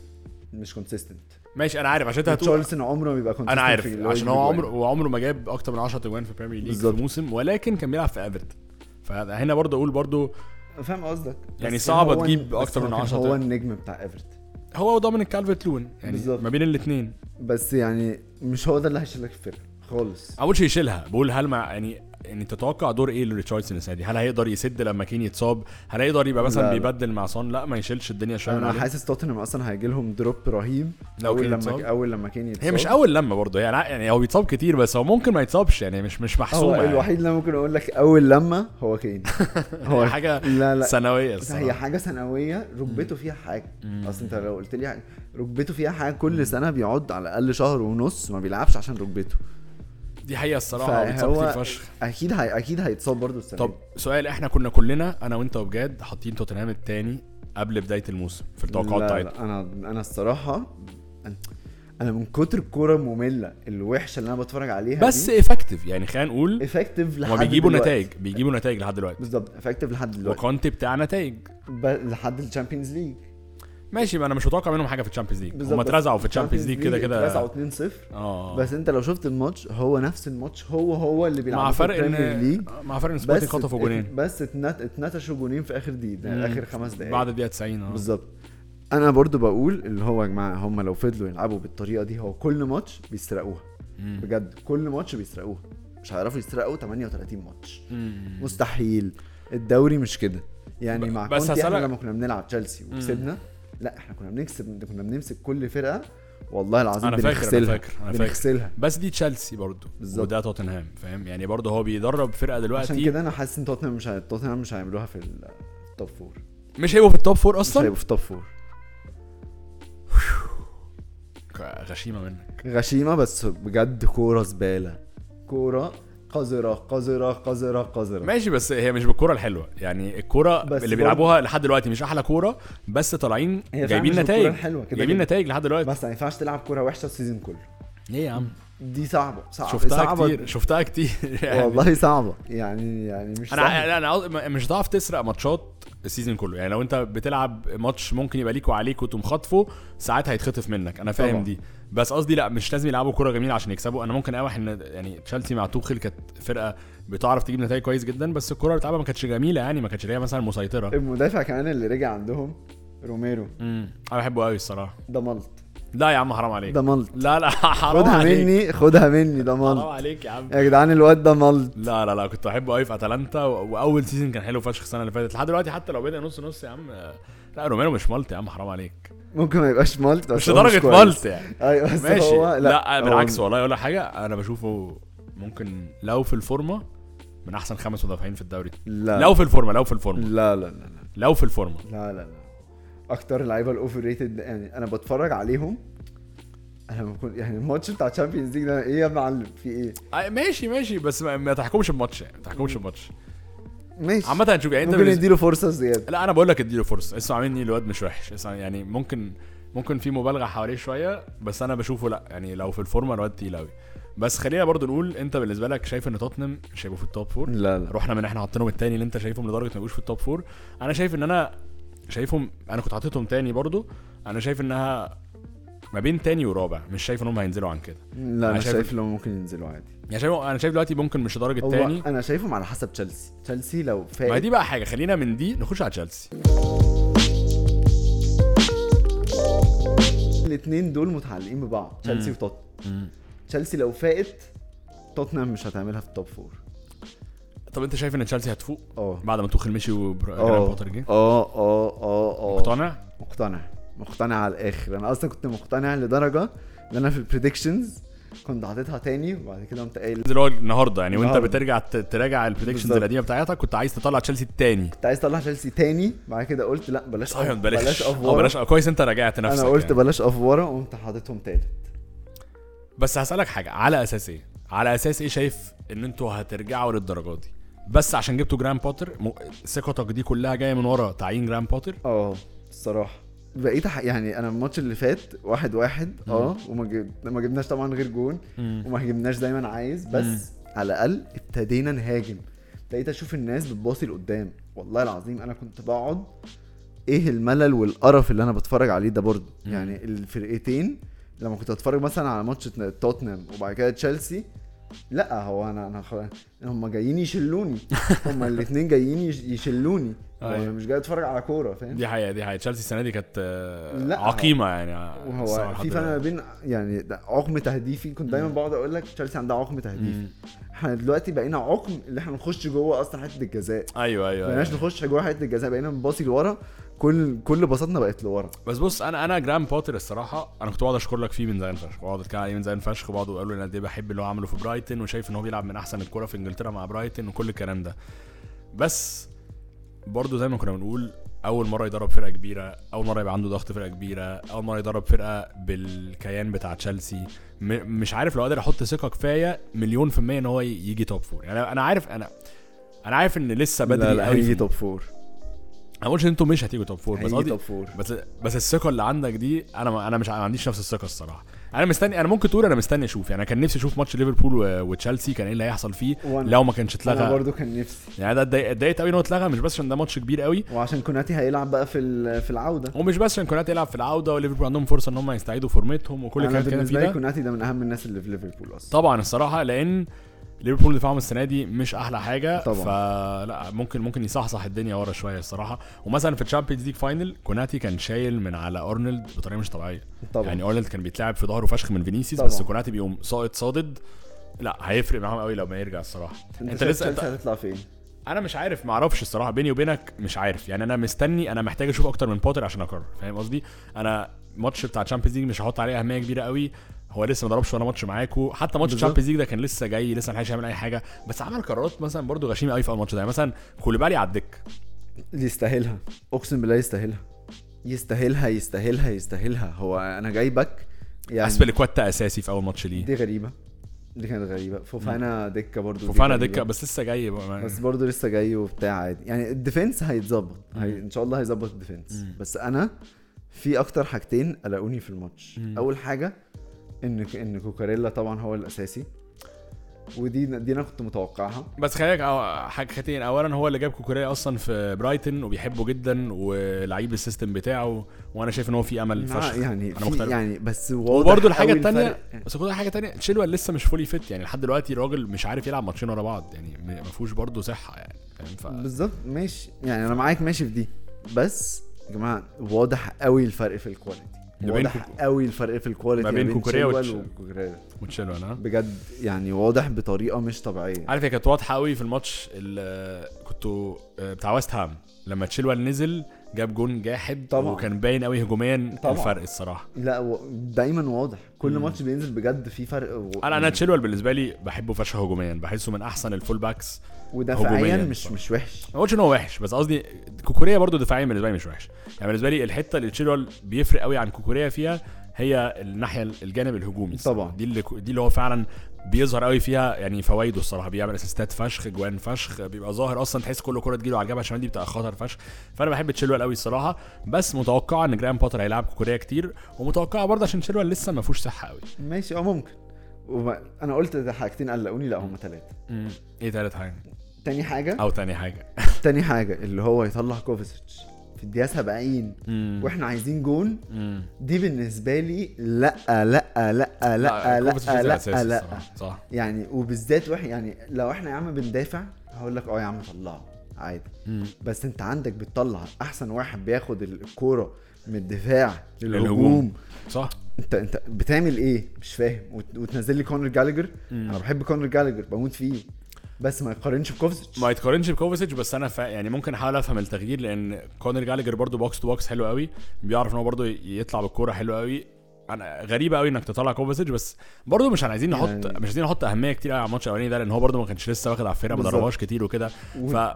Speaker 2: مش كونسيستنت
Speaker 1: ماشي انا عارف عشان انت هتقول
Speaker 2: تشارلسون عمره ما بيبقى كونسيستنت
Speaker 1: انا عارف عشان هو عمره وعمره ما جاب اكتر من 10 تجوان في البريمير ليج في
Speaker 2: بالظبط.
Speaker 1: الموسم ولكن كان بيلعب في ايفرتون فهنا برضه اقول برضه
Speaker 2: فاهم قصدك
Speaker 1: يعني
Speaker 2: بس
Speaker 1: صعبة
Speaker 2: هو-
Speaker 1: تجيب
Speaker 2: بس
Speaker 1: أكتر
Speaker 2: هو
Speaker 1: من
Speaker 2: كان
Speaker 1: 10
Speaker 2: هو النجم بتاع ايفرت
Speaker 1: هو ودومينيك كالفرت لون يعني
Speaker 2: بالظبط.
Speaker 1: ما بين الاثنين
Speaker 2: بس يعني مش هو ده اللي هيشيل لك الفرقه خالص
Speaker 1: ما اقولش يشيلها بقول هل مع يعني يعني تتوقع دور ايه لريتشاردسون السنه دي؟ هل هيقدر يسد لما كين يتصاب؟ هل هيقدر يبقى مثلا
Speaker 2: لا، لا.
Speaker 1: بيبدل مع صن؟ لا ما يشيلش الدنيا شويه من
Speaker 2: انا
Speaker 1: عليه.
Speaker 2: حاسس توتنهام اصلا هيجي لهم دروب رهيب
Speaker 1: لو كان
Speaker 2: اول
Speaker 1: يتصاب.
Speaker 2: لما اول لما كان يتصاب
Speaker 1: هي مش اول لما برضه هي لا، يعني هو بيتصاب كتير بس هو ممكن ما يتصابش يعني مش مش
Speaker 2: هو
Speaker 1: محسومه يعني.
Speaker 2: الوحيد اللي أنا ممكن اقول لك اول لما هو كين هو
Speaker 1: حاجة
Speaker 2: لا لا
Speaker 1: سنويه
Speaker 2: هي
Speaker 1: الصراحه
Speaker 2: حاجه سنويه ركبته فيها حاجه اصل انت لو قلت لي حاجة- ركبته فيها حاجه كل سنه بيقعد على الاقل شهر ونص ما بيلعبش عشان ركبته
Speaker 1: دي حقيقه الصراحه هو بيتصاب
Speaker 2: فهو-
Speaker 1: كتير فشخ
Speaker 2: اكيد هي... اكيد هيتصاب برضه السنه
Speaker 1: طب
Speaker 2: دي.
Speaker 1: سؤال احنا كنا كلنا انا وانت وبجد حاطين توتنهام التاني قبل بدايه الموسم في التوقعات
Speaker 2: لا،
Speaker 1: بتاعتنا
Speaker 2: لا، انا انا الصراحه أنا- انا من كتر الكوره الممله الوحشه اللي انا بتفرج عليها
Speaker 1: بس افكتيف يعني خلينا نقول
Speaker 2: افكتيف إيه؟ لحد
Speaker 1: هما بيجيبوا
Speaker 2: دلوقتي.
Speaker 1: نتائج بيجيبوا نتائج لحد دلوقتي
Speaker 2: بالظبط افكتيف لحد دلوقتي
Speaker 1: وكونتي بتاع نتائج
Speaker 2: ب... لحد الشامبيونز ليج
Speaker 1: ماشي ما انا مش متوقع منهم حاجه في الشامبيونز ليج هم
Speaker 2: بالظبط.
Speaker 1: اترزعوا في الشامبيونز ليج كده
Speaker 2: اترزعوا
Speaker 1: كده
Speaker 2: 2-0
Speaker 1: اه
Speaker 2: بس انت لو شفت الماتش هو نفس الماتش هو هو اللي بيلعب
Speaker 1: مع فرق
Speaker 2: ليج
Speaker 1: ان مع فرق ان سبورتنج خطفوا
Speaker 2: إيه،
Speaker 1: جونين
Speaker 2: بس اتنت- اتنتشوا جونين في اخر دقيقه اخر خمس دقائق
Speaker 1: بعد الدقيقه 90 اه
Speaker 2: إيه. بالظبط انا برضو بقول اللي هو يا جماعه هم لو فضلوا يلعبوا بالطريقه دي هو كل ماتش بيسرقوها بجد كل ماتش بيسرقوها مش هيعرفوا يسرقوا 38 ماتش
Speaker 1: مم.
Speaker 2: مستحيل الدوري مش كده يعني
Speaker 1: ب-
Speaker 2: مع
Speaker 1: بس
Speaker 2: كونتي احنا
Speaker 1: هسألك-
Speaker 2: لما كنا بنلعب تشيلسي وكسبنا لا احنا كنا بنكسب كنا بنمسك كل فرقه والله العظيم
Speaker 1: أنا فاكر- أنا
Speaker 2: بنغسلها
Speaker 1: فاكر- أنا فاكر.
Speaker 2: بنغسلها
Speaker 1: بس دي تشيلسي برضه
Speaker 2: بالظبط.
Speaker 1: وده توتنهام فاهم يعني برضه هو بيدرب فرقه
Speaker 2: عشان
Speaker 1: دلوقتي
Speaker 2: كده انا حاسس ان توتنهام مش هي- توتنهام مش هيعملوها في ال- في التوب فور
Speaker 1: مش هيبقوا في التوب فور
Speaker 2: مش
Speaker 1: اصلا
Speaker 2: هيبقوا في التوب فور
Speaker 1: غشيمه منك
Speaker 2: غشيمه بس بجد كوره زباله كوره قذره قذره قذره قذره
Speaker 1: ماشي بس هي مش بالكوره الحلوه يعني الكوره
Speaker 2: بس
Speaker 1: اللي
Speaker 2: برضه-
Speaker 1: بيلعبوها لحد دلوقتي مش احلى كوره بس طالعين
Speaker 2: هي فعلا
Speaker 1: جايبين
Speaker 2: مش بالكورة
Speaker 1: نتائج
Speaker 2: الحلوة كده
Speaker 1: جايبين
Speaker 2: كده.
Speaker 1: نتائج لحد دلوقتي
Speaker 2: بس ما ينفعش تلعب كوره وحشه السيزون كله
Speaker 1: ليه إيه يا عم
Speaker 2: دي صعبه صعبه
Speaker 1: شفتها
Speaker 2: صعبه
Speaker 1: كتير شفتها كتير يعني
Speaker 2: والله صعبه يعني يعني مش
Speaker 1: انا
Speaker 2: سهل.
Speaker 1: أنا- انا قصد- مش هتعرف تسرق ماتشات السيزون كله يعني لو انت بتلعب ماتش ممكن يبقى ليك وعليك وتقوم خاطفه ساعات هيتخطف منك انا فاهم
Speaker 2: طبعا.
Speaker 1: دي بس قصدي لا مش لازم يلعبوا كوره جميله عشان يكسبوا انا ممكن اوح ان يعني تشيلسي مع توخيل كانت فرقه بتعرف تجيب نتائج كويس جدا بس الكوره اللي بتلعبها ما كانتش جميله يعني ما كانتش اللي هي مثلا
Speaker 2: إيه.
Speaker 1: مسيطره
Speaker 2: المدافع كمان اللي رجع عندهم روميرو
Speaker 1: امم انا بحبه قوي الصراحه
Speaker 2: ده ملط
Speaker 1: لا يا عم حرام عليك
Speaker 2: ده ملط
Speaker 1: لا لا حرام
Speaker 2: خدها
Speaker 1: عليك
Speaker 2: مني خدها مني ده
Speaker 1: حرام
Speaker 2: ملط
Speaker 1: عليك يا عم
Speaker 2: يا جدعان الواد ده ملط
Speaker 1: لا لا لا كنت بحبه قوي في اتلانتا و- واول سيزون كان حلو فشخ السنه اللي فاتت لحد دلوقتي حتى لو بدا نص نص يا عم آه، لا روميرو مش مالت يا عم حرام عليك
Speaker 2: ممكن ما يبقاش ملط بس
Speaker 1: مش
Speaker 2: هو
Speaker 1: لدرجه
Speaker 2: كويس.
Speaker 1: مالت يعني
Speaker 2: ايوه بس
Speaker 1: ماشي
Speaker 2: هو
Speaker 1: لا, لا
Speaker 2: هو-
Speaker 1: بالعكس والله اقول لك حاجه انا بشوفه ممكن لو في الفورمه من احسن خمس مدافعين في الدوري
Speaker 2: لا
Speaker 1: لو في الفورمه لو في الفورمه
Speaker 2: لا لا لا
Speaker 1: لو في الفورمه
Speaker 2: لا لا لا اكتر اللعيبه الاوفر ريتد يعني انا بتفرج عليهم انا بكون يعني الماتش بتاع تشامبيونز ليج ده ايه يا معلم في ايه
Speaker 1: آه، ماشي ماشي بس ما, ما تحكمش بماتش يعني ما تحكمش بماتش
Speaker 2: ماشي
Speaker 1: عامه هنشوف يعني انت
Speaker 2: ممكن
Speaker 1: بالنسبة-
Speaker 2: نديله فرصه زياده
Speaker 1: لا انا بقول لك اديله فرصه اسمع مني الواد مش وحش اسمع يعني ممكن ممكن في مبالغه حواليه شويه بس انا بشوفه لا يعني لو في الفورمه الواد تقيل قوي بس خلينا برضو نقول انت بالنسبه لك شايف ان توتنهام مش هيبقوا في التوب فور
Speaker 2: لا لا
Speaker 1: رحنا من احنا حاطينهم التاني اللي انت شايفهم لدرجه ما يبقوش في التوب فور انا شايف ان انا شايفهم انا كنت حاططهم تاني برضو انا شايف انها ما بين تاني ورابع مش شايف ان هم هينزلوا عن كده
Speaker 2: لا
Speaker 1: أنا
Speaker 2: انا
Speaker 1: شايف-
Speaker 2: شايف لو ممكن ينزلوا عادي
Speaker 1: يعني شايف انا شايف دلوقتي ممكن مش درجه
Speaker 2: هو
Speaker 1: تاني
Speaker 2: انا شايفهم على حسب تشيلسي تشيلسي لو
Speaker 1: ما
Speaker 2: فايق
Speaker 1: دي بقى حاجه خلينا من دي نخش على تشيلسي
Speaker 2: الاثنين دول متعلقين ببعض تشيلسي وتوتنهام تشيلسي لو فاقت توتنهام مش هتعملها في التوب فور
Speaker 1: طب انت شايف ان تشيلسي هتفوق
Speaker 2: اه
Speaker 1: بعد ما توخل مشي وجرام
Speaker 2: اه
Speaker 1: بوتر جه
Speaker 2: اه اه اه اه
Speaker 1: مقتنع
Speaker 2: مقتنع مقتنع على الاخر انا اصلا كنت مقتنع لدرجه ان انا في البريدكشنز كنت حاططها تاني وبعد كده قمت قايل
Speaker 1: اللي هو النهارده يعني وانت
Speaker 2: النهاردة.
Speaker 1: بترجع ت- تراجع البريدكشنز
Speaker 2: نعم. بالظبط.
Speaker 1: القديمه بتاعتك كنت عايز تطلع تشيلسي التاني
Speaker 2: كنت عايز اطلع تشيلسي تاني بعد كده قلت لا بلاش
Speaker 1: صحيح
Speaker 2: أف-
Speaker 1: بلاش
Speaker 2: بلاش
Speaker 1: اه
Speaker 2: افوره
Speaker 1: بلاش اه كويس انت راجعت نفسك
Speaker 2: انا قلت
Speaker 1: يعني.
Speaker 2: بلاش افوره وقمت حاططهم تالت
Speaker 1: بس هسالك حاجه على اساس ايه على اساس ايه شايف ان انتوا هترجعوا للدرجات دي بس عشان جبتوا جرام بوتر م- ثقتك دي كلها جايه من ورا تعيين جرام بوتر
Speaker 2: اه الصراحه بقيت أح- يعني انا الماتش اللي فات واحد واحد اه وما جب... ما جبناش طبعا غير جون وما هجمناش زي ما انا عايز بس على الاقل ابتدينا نهاجم بقيت اشوف الناس بتباصي لقدام والله العظيم انا كنت بقعد ايه الملل والقرف اللي انا بتفرج عليه ده برضه يعني الفرقتين لما كنت اتفرج مثلا على ماتش توتنهام وبعد كده تشيلسي لا هو انا انا خلاص هم جايين يشلوني هم الاثنين جايين يش- يشلوني هو
Speaker 1: أيوة.
Speaker 2: انا مش جاي اتفرج على كوره فاهم
Speaker 1: دي حقيقه دي حقيقه تشيلسي السنه دي كانت آه،
Speaker 2: لا، هو-
Speaker 1: عقيمه يعني آه، الصراحة
Speaker 2: وهو
Speaker 1: لحد
Speaker 2: في فرق ما
Speaker 1: دلوقتي.
Speaker 2: بين يعني ده عقم تهديفي كنت دايما بقعد اقول لك تشيلسي عندها عقم تهديفي احنا دلوقتي بقينا عقم اللي احنا نخش جوه اصلا حته الجزاء
Speaker 1: ايوه ايوه
Speaker 2: ما بقيناش
Speaker 1: أيوة.
Speaker 2: نخش جوه حته الجزاء بقينا بنباصي لورا كل كل بساطنا بقت لورا
Speaker 1: بس بص انا انا جرام بوتر الصراحه انا كنت بقعد اشكر لك فيه من زمان فشخ بقعد اتكلم عليه من زمان فشخ وبقعد اقول له انا قد ايه بحب اللي هو عمله في برايتن وشايف ان هو بيلعب من احسن الكره في انجلترا مع برايتن وكل الكلام ده بس برضه زي ما كنا بنقول اول مره يدرب فرقه كبيره اول مره يبقى عنده ضغط فرقه كبيره اول مره يدرب فرقه بالكيان بتاع تشيلسي م- مش عارف لو قادر احط ثقه كفايه مليون في الميه ان هو ي- يجي توب فور يعني أنا- انا عارف انا انا عارف ان لسه بدري
Speaker 2: لا لا
Speaker 1: قوي في-
Speaker 2: هيجي توب فور
Speaker 1: انا ما قلتش ان انتوا مش هتيجوا توب فور بس
Speaker 2: هيجي
Speaker 1: قصدي
Speaker 2: توب فور
Speaker 1: بس بس الثقه اللي عندك دي انا ما انا مش ع- ما عنديش نفس الثقه الصراحه انا مستني انا ممكن تقول انا مستني اشوف يعني انا كان نفسي اشوف ماتش ليفربول و- وتشيلسي كان ايه اللي هيحصل فيه
Speaker 2: وأنا-
Speaker 1: لو ما كانش
Speaker 2: انا
Speaker 1: اتلغى
Speaker 2: برضو كان نفسي
Speaker 1: يعني ده اتضايق- اتضايقت قوي ان هو اتلغى مش بس عشان ده ماتش كبير قوي
Speaker 2: وعشان كوناتي هيلعب بقى في ال- في العوده
Speaker 1: ومش بس عشان كوناتي يلعب في العوده وليفربول عندهم فرصه ان هم يستعيدوا فورمتهم وكل
Speaker 2: انا
Speaker 1: الكلام اللي كان فيه
Speaker 2: بالنسبه لي
Speaker 1: ده
Speaker 2: كوناتي ده من اهم الناس اللي في ليفربول اصلا
Speaker 1: طبعا الصراحه لان ليفربول دفاعهم السنه دي مش احلى حاجه
Speaker 2: طبعا.
Speaker 1: فلا ممكن ممكن يصحصح الدنيا ورا شويه الصراحه ومثلا في الشامبيونز ليج فاينل كوناتي كان شايل من على ارنولد بطريقه مش طبيعيه
Speaker 2: طبعا
Speaker 1: يعني ارنولد كان بيتلعب في ظهره فشخ من فينيسيوس
Speaker 2: طبعا.
Speaker 1: بس كوناتي بيقوم ساقط صادد لا هيفرق معاهم قوي لو ما يرجع الصراحه انت,
Speaker 2: انت
Speaker 1: لسه
Speaker 2: لسه
Speaker 1: انت...
Speaker 2: هتطلع فين
Speaker 1: انا مش عارف ما اعرفش الصراحه بيني وبينك مش عارف يعني انا مستني انا محتاج اشوف اكتر من بوتر عشان اقرر فاهم قصدي انا ماتش بتاع تشامبيونز ليج مش هحط عليه اهميه كبيره قوي هو لسه ما ضربش ولا ماتش معاكو حتى ماتش
Speaker 2: بالظبط.
Speaker 1: تشامبيونز ليج ده كان لسه جاي لسه ما حدش هيعمل اي حاجه بس عمل قرارات مثلا برضو غشيمه قوي في اول ماتش ده يعني مثلا كوليبالي على الدك
Speaker 2: يستاهلها اقسم بالله يستاهلها يستاهلها يستاهلها يستاهلها هو انا جايبك يعني
Speaker 1: اسبليكواتا اساسي في اول ماتش ليه
Speaker 2: دي غريبه دي كانت غريبه فوفانا دكه برضو دي
Speaker 1: فوفانا
Speaker 2: غريبة.
Speaker 1: دكه بس لسه جاي بقى.
Speaker 2: بس برضه لسه جاي وبتاع عادي يعني الديفنس هيتظبط هي... ان شاء الله هيظبط الديفنس
Speaker 1: مم.
Speaker 2: بس انا في اكتر حاجتين قلقوني في الماتش
Speaker 1: مم.
Speaker 2: اول حاجه ان ان كوكاريلا طبعا هو الاساسي ودي دي انا كنت متوقعها
Speaker 1: بس خليك أو- حاجتين اولا هو اللي جاب كوكوريا اصلا في برايتن وبيحبه جدا ولعيب السيستم بتاعه وانا شايف ان هو في امل
Speaker 2: مع-
Speaker 1: فشخ
Speaker 2: يعني
Speaker 1: أنا
Speaker 2: في
Speaker 1: مختلف.
Speaker 2: يعني بس
Speaker 1: وبرضه الحاجه
Speaker 2: قوي
Speaker 1: الثانيه
Speaker 2: الفرق.
Speaker 1: بس خد حاجه تانية تشيلوال لسه مش فولي فيت يعني لحد دلوقتي الراجل مش عارف يلعب ماتشين ورا بعض يعني م- ما فيهوش برضه صحه يعني فاهم ف...
Speaker 2: بالظبط ماشي يعني انا معاك ماشي في دي بس يا جماعه واضح قوي الفرق في الكواليتي
Speaker 1: ما بين
Speaker 2: واضح
Speaker 1: كوكو-
Speaker 2: قوي الفرق في الكواليتي
Speaker 1: ما بين كوكوريا
Speaker 2: تشيلوال
Speaker 1: وتش-
Speaker 2: وكوكوريلا
Speaker 1: وتشيلوال ها
Speaker 2: بجد يعني واضح بطريقه مش طبيعيه
Speaker 1: عارف هي كانت واضحه قوي في الماتش اللي كنتوا آه، بتاع ويست هام لما تشيلوال نزل جاب جون جاحد
Speaker 2: طبعاً.
Speaker 1: وكان باين قوي هجوميا
Speaker 2: طبعاً.
Speaker 1: الفرق الصراحه
Speaker 2: لا و... دايما واضح كل ماتش بينزل بجد في فرق و... يعني
Speaker 1: انا انا تشيلوال بالنسبه لي بحبه فشخ هجوميا بحسه من احسن الفول باكس
Speaker 2: ودفاعيا
Speaker 1: هجومياً
Speaker 2: مش
Speaker 1: طبعاً.
Speaker 2: مش وحش
Speaker 1: ما قلتش ان هو وحش بس قصدي كوكوريا برضو دفاعيا بالنسبه لي مش وحش يعني بالنسبه لي الحته اللي تشيلوال بيفرق قوي عن كوكوريا فيها هي الناحيه الجانب الهجومي الصراحة.
Speaker 2: طبعاً.
Speaker 1: دي اللي دي اللي هو فعلا بيظهر قوي فيها يعني فوائده الصراحه بيعمل اسيستات فشخ جوان فشخ بيبقى ظاهر اصلا تحس كل كره تجيله على الجبهه الشمال دي بتبقى خطر فشخ فانا بحب تشيلوال قوي الصراحه بس متوقعه ان جرام باتر هيلعب كوكوريا كتير ومتوقعه برضه عشان تشيلوال لسه ما فيهوش صحه قوي
Speaker 2: ماشي اه ممكن وما... انا قلت ده حاجتين قلقوني لا هم ثلاثه
Speaker 1: ايه تالت حاجه
Speaker 2: تاني حاجه
Speaker 1: او تاني حاجه
Speaker 2: تاني حاجه اللي هو يطلع كوفاسيتش في الدقيقه 70
Speaker 1: مم.
Speaker 2: واحنا عايزين جون
Speaker 1: مم.
Speaker 2: دي بالنسبه لي لا لا لا لا لا
Speaker 1: كوفاسيتش ده
Speaker 2: لا
Speaker 1: أساسي
Speaker 2: لا, لا.
Speaker 1: الصراحة. صح
Speaker 2: يعني وبالذات واحد يعني لو احنا يا عم بندافع هقول لك اه يا عم طلعه عادي
Speaker 1: مم.
Speaker 2: بس انت عندك بتطلع احسن واحد بياخد الكوره من الدفاع
Speaker 1: للهجوم.
Speaker 2: للهجوم
Speaker 1: صح
Speaker 2: انت انت بتعمل ايه مش فاهم وت- وتنزل لي كونر جالجر
Speaker 1: مم.
Speaker 2: انا بحب كونر جالجر بموت فيه بس ما يقارنش بكوفزيتش
Speaker 1: ما يتقارنش بكوفاسيتش بس انا فا يعني ممكن احاول افهم التغيير لان كونر جالجر برضو بوكس تو بوكس حلو قوي بيعرف ان هو برضو يطلع بالكوره حلو قوي انا غريبه قوي انك تطلع كوفاسيتش بس برضو مش عايزين نحط
Speaker 2: يعني-
Speaker 1: مش عايزين نحط اهميه كتير قوي على الماتش الاولاني ده لان هو برضو ما كانش لسه واخد على الفرقه ما
Speaker 2: بالظبط.
Speaker 1: ضربهاش كتير وكده
Speaker 2: و-
Speaker 1: ف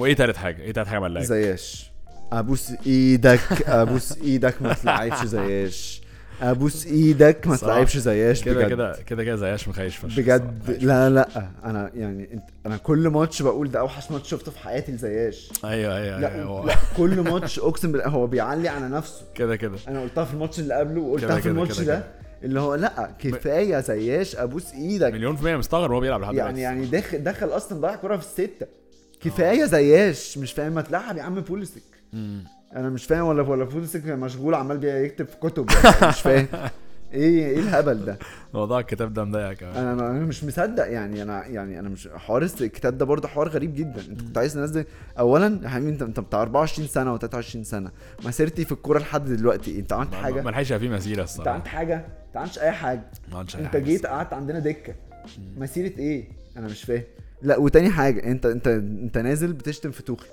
Speaker 1: وايه تالت حاجه؟ ايه تالت حاجه ملاك؟
Speaker 2: زياش ابوس ايدك ابوس ايدك ما تلعبش زياش ابوس ايدك ما
Speaker 1: صح.
Speaker 2: تلعبش زياش
Speaker 1: كده
Speaker 2: بجد.
Speaker 1: كده كده كده زياش مخيش فشخ
Speaker 2: بجد
Speaker 1: الصراحة.
Speaker 2: لا لا انا يعني انت انا كل ماتش بقول ده اوحش ماتش شفته في حياتي لزياش
Speaker 1: ايوه ايوه
Speaker 2: لا,
Speaker 1: أيوة، هو-
Speaker 2: لا كل ماتش اقسم بالله هو بيعلي على نفسه
Speaker 1: كده كده
Speaker 2: انا قلتها في الماتش اللي قبله
Speaker 1: كده
Speaker 2: وقلتها في
Speaker 1: كده
Speaker 2: الماتش
Speaker 1: كده
Speaker 2: ده اللي هو لا كفايه زياش ابوس ايدك
Speaker 1: مليون في المية مستغرب هو بيلعب لحد
Speaker 2: يعني
Speaker 1: دلوقتي
Speaker 2: يعني دخل دخل اصلا ضيع كوره في السته
Speaker 1: آه.
Speaker 2: كفايه زياش مش فاهم ما تلعب يا عم بوليسك
Speaker 1: مم.
Speaker 2: انا مش فاهم ولا ولا بوليسك مشغول عمال بيكتب في كتب ولا مش فاهم ايه ايه الهبل ده
Speaker 1: موضوع الكتاب ده مضايقك أوي.
Speaker 2: انا انا مش مصدق يعني انا يعني انا مش حوار الس- الكتاب ده برضه حوار غريب جدا انت كنت عايز تنزل اولا يا حبيبي انت انت بتاع 24 سنه و23 سنه مسيرتي في الكوره لحد دلوقتي انت عملت
Speaker 1: ما- ما-
Speaker 2: حاجه
Speaker 1: ما لحقش فيه مسيره
Speaker 2: انت
Speaker 1: الصراحه
Speaker 2: عملت حاجه انت عملتش اي حاجه
Speaker 1: ما عملش أي
Speaker 2: انت
Speaker 1: حاجة
Speaker 2: جيت قعدت عندنا دكه مسيره ايه انا مش فاهم لا وتاني حاجه انت انت انت نازل بتشتم في توخل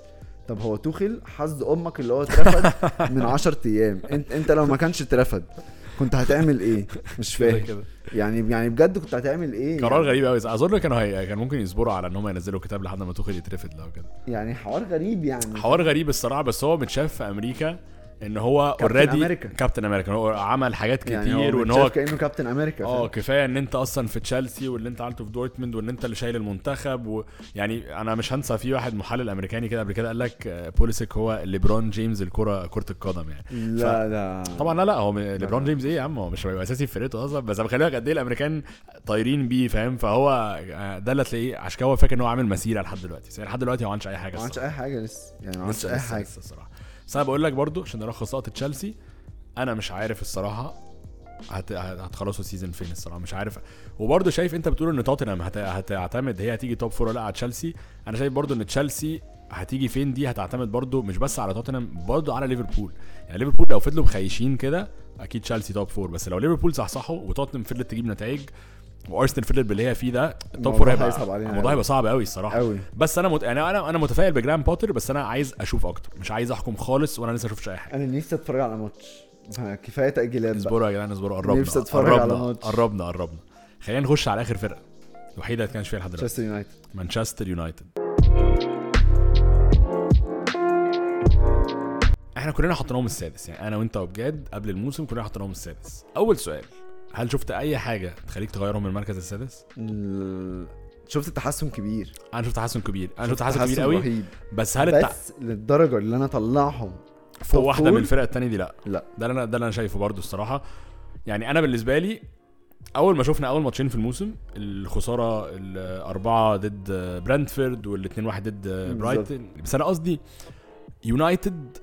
Speaker 2: طب هو توخل حظ امك اللي هو اترفد من 10 ايام انت انت لو ما كانش اترفد كنت هتعمل ايه مش
Speaker 1: كده
Speaker 2: فاهم
Speaker 1: كده.
Speaker 2: يعني يعني بجد كنت هتعمل ايه
Speaker 1: قرار
Speaker 2: يعني,
Speaker 1: غريب قوي اظن كانوا هي... كان ممكن يصبروا على ان هم ينزلوا كتاب لحد ما توخيل يترفد لو كده
Speaker 2: يعني حوار غريب يعني
Speaker 1: حوار غريب الصراحه بس هو متشاف في امريكا ان هو
Speaker 2: كابتن
Speaker 1: اوريدي
Speaker 2: أمريكا.
Speaker 1: كابتن امريكا هو عمل حاجات كتير
Speaker 2: يعني هو
Speaker 1: وان
Speaker 2: متشاف
Speaker 1: هو
Speaker 2: كانه كابتن امريكا
Speaker 1: اه
Speaker 2: فاهم؟
Speaker 1: كفايه ان انت اصلا في تشيلسي واللي انت عملته في دورتموند وان انت اللي شايل المنتخب ويعني انا مش هنسى في واحد محلل امريكاني كده قبل كده قال لك آه، بوليسيك هو ليبرون جيمس الكره كره القدم يعني
Speaker 2: لا لا
Speaker 1: طبعا لا لا هو م- ليبرون جيمس ايه يا عم هو مش هيبقى اساسي في فرقته اصلا بس بخلي بالك قد ايه الامريكان طايرين بيه فاهم فهو آه، ده اللي تلاقيه عشان كده هو فاكر ان هو عامل مسيره لحد دلوقتي بس يعني لحد دلوقتي هو ما عملش اي حاجه
Speaker 2: ما عملش
Speaker 1: الصراحة.
Speaker 2: اي حاجه لسه يعني ما عملش
Speaker 1: لسه
Speaker 2: اي
Speaker 1: لسه
Speaker 2: حاجه
Speaker 1: لسه الصراحه بس انا بقول لك برضو عشان نلخص لقطه تشيلسي انا مش عارف الصراحه هت... هت- هتخلصوا السيزون فين الصراحه مش عارف وبرضه شايف انت بتقول ان توتنهام هت... هتعتمد هي هتيجي توب فور ولا لا على تشيلسي انا شايف برضه ان تشيلسي هتيجي فين دي هتعتمد برضه مش بس على توتنهام برضه على ليفربول يعني ليفربول لو فضلوا مخيشين كده اكيد تشيلسي توب فور بس لو ليفربول صحصحوا وتوتنهام فضلت تجيب نتائج وارسنال فضلت باللي هي فيه ده التوب فور
Speaker 2: الموضوع
Speaker 1: هيبقى
Speaker 2: هيصعب علينا
Speaker 1: الموضوع
Speaker 2: أوي.
Speaker 1: هيبقى صعب قوي الصراحه
Speaker 2: قوي
Speaker 1: بس انا مت... انا انا انا متفائل بجرام بوتر بس انا عايز اشوف اكتر مش عايز احكم خالص وانا لسه ما شفتش اي حاجه
Speaker 2: انا نفسي اتفرج على ماتش كفايه تاجيلات بقى
Speaker 1: اصبروا يا جدعان اصبروا قربنا
Speaker 2: نفسي أتفرج على
Speaker 1: قربنا
Speaker 2: ماتش.
Speaker 1: قربنا قربنا خلينا نخش على اخر فرقه الوحيده اللي كانش فيها لحد دلوقتي
Speaker 2: مانشستر يونايتد
Speaker 1: مانشستر يونايتد احنا كلنا حطيناهم السادس يعني انا وانت وبجد قبل الموسم كلنا حطيناهم السادس اول سؤال هل شفت اي حاجه تخليك تغيرهم من المركز السادس
Speaker 2: ال- شفت تحسن كبير
Speaker 1: انا شفت تحسن كبير انا شفت تحسن
Speaker 2: تحسن
Speaker 1: كبير قوي
Speaker 2: رهيب
Speaker 1: بس هل التع...
Speaker 2: بس للدرجه اللي انا طلعهم
Speaker 1: فوق
Speaker 2: طب
Speaker 1: واحده من
Speaker 2: فول؟
Speaker 1: الفرق التانية دي لا
Speaker 2: لا.
Speaker 1: ده اللي انا ده اللي انا شايفه برضو الصراحه يعني انا بالنسبه لي اول ما شفنا اول ماتشين في الموسم الخساره الاربعه ضد برنتفورد والاثنين واحد ضد
Speaker 2: بالظبط.
Speaker 1: برايتن بس انا قصدي يونايتد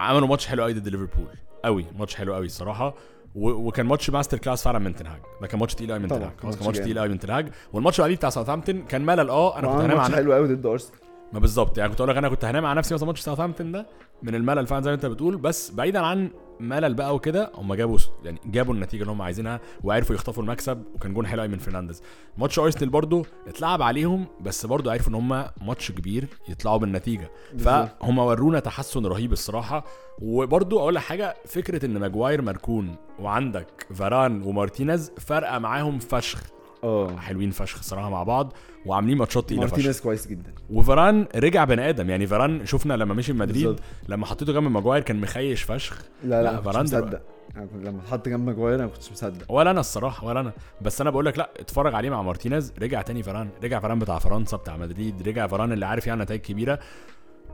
Speaker 1: عملوا ماتش حلو قوي ضد ليفربول قوي ماتش حلو قوي الصراحه و- وكان ماتش ماستر كلاس فعلا من تنهاج ده كان ماتش تقيل قوي من
Speaker 2: طبعا،
Speaker 1: تنهاج خلاص كان ماتش
Speaker 2: ماتش جامد.
Speaker 1: تقيل قوي من تنهاج والماتش اللي بعديه بتاع ساوثهامبتون كان ملل اه انا كنت
Speaker 2: وعمل
Speaker 1: هنام
Speaker 2: ماتش
Speaker 1: على
Speaker 2: حلو قوي ضد ارسنال
Speaker 1: ما بالظبط يعني كنت اقول لك انا كنت هنام على نفسي مثلا ماتش ساوثهامبتون ده من الملل فعلا زي ما انت بتقول بس بعيدا عن ملل بقى وكده هم جابوا يعني جابوا النتيجه اللي هم عايزينها وعرفوا يخطفوا المكسب وكان جون حلو قوي من فرنانديز ماتش ارسنال برضو اتلعب عليهم بس برضو عرفوا ان هم ماتش كبير يطلعوا بالنتيجه فهم ورونا تحسن رهيب الصراحه وبرضو اقول لك حاجه فكره ان ماجواير مركون وعندك فاران ومارتينيز فارقه معاهم فشخ
Speaker 2: اه
Speaker 1: حلوين فشخ الصراحه مع بعض وعاملين ماتشات تقيله فشخ
Speaker 2: مارتينيز كويس جدا
Speaker 1: وفران رجع بني ادم يعني فران شفنا لما مشي من مدريد
Speaker 2: بالظبط.
Speaker 1: لما حطيته جنب ماجواير كان مخيش فشخ
Speaker 2: لا
Speaker 1: لا،
Speaker 2: لا كنت
Speaker 1: فاران دلوقتي.
Speaker 2: مصدق انا كنت لما اتحط جنب ماجواير انا ما كنتش مصدق
Speaker 1: ولا انا الصراحه ولا انا بس انا بقول لك لا اتفرج عليه مع مارتينيز رجع تاني فران رجع فران بتاع فرنسا بتاع مدريد رجع فران اللي عارف يعني نتائج كبيره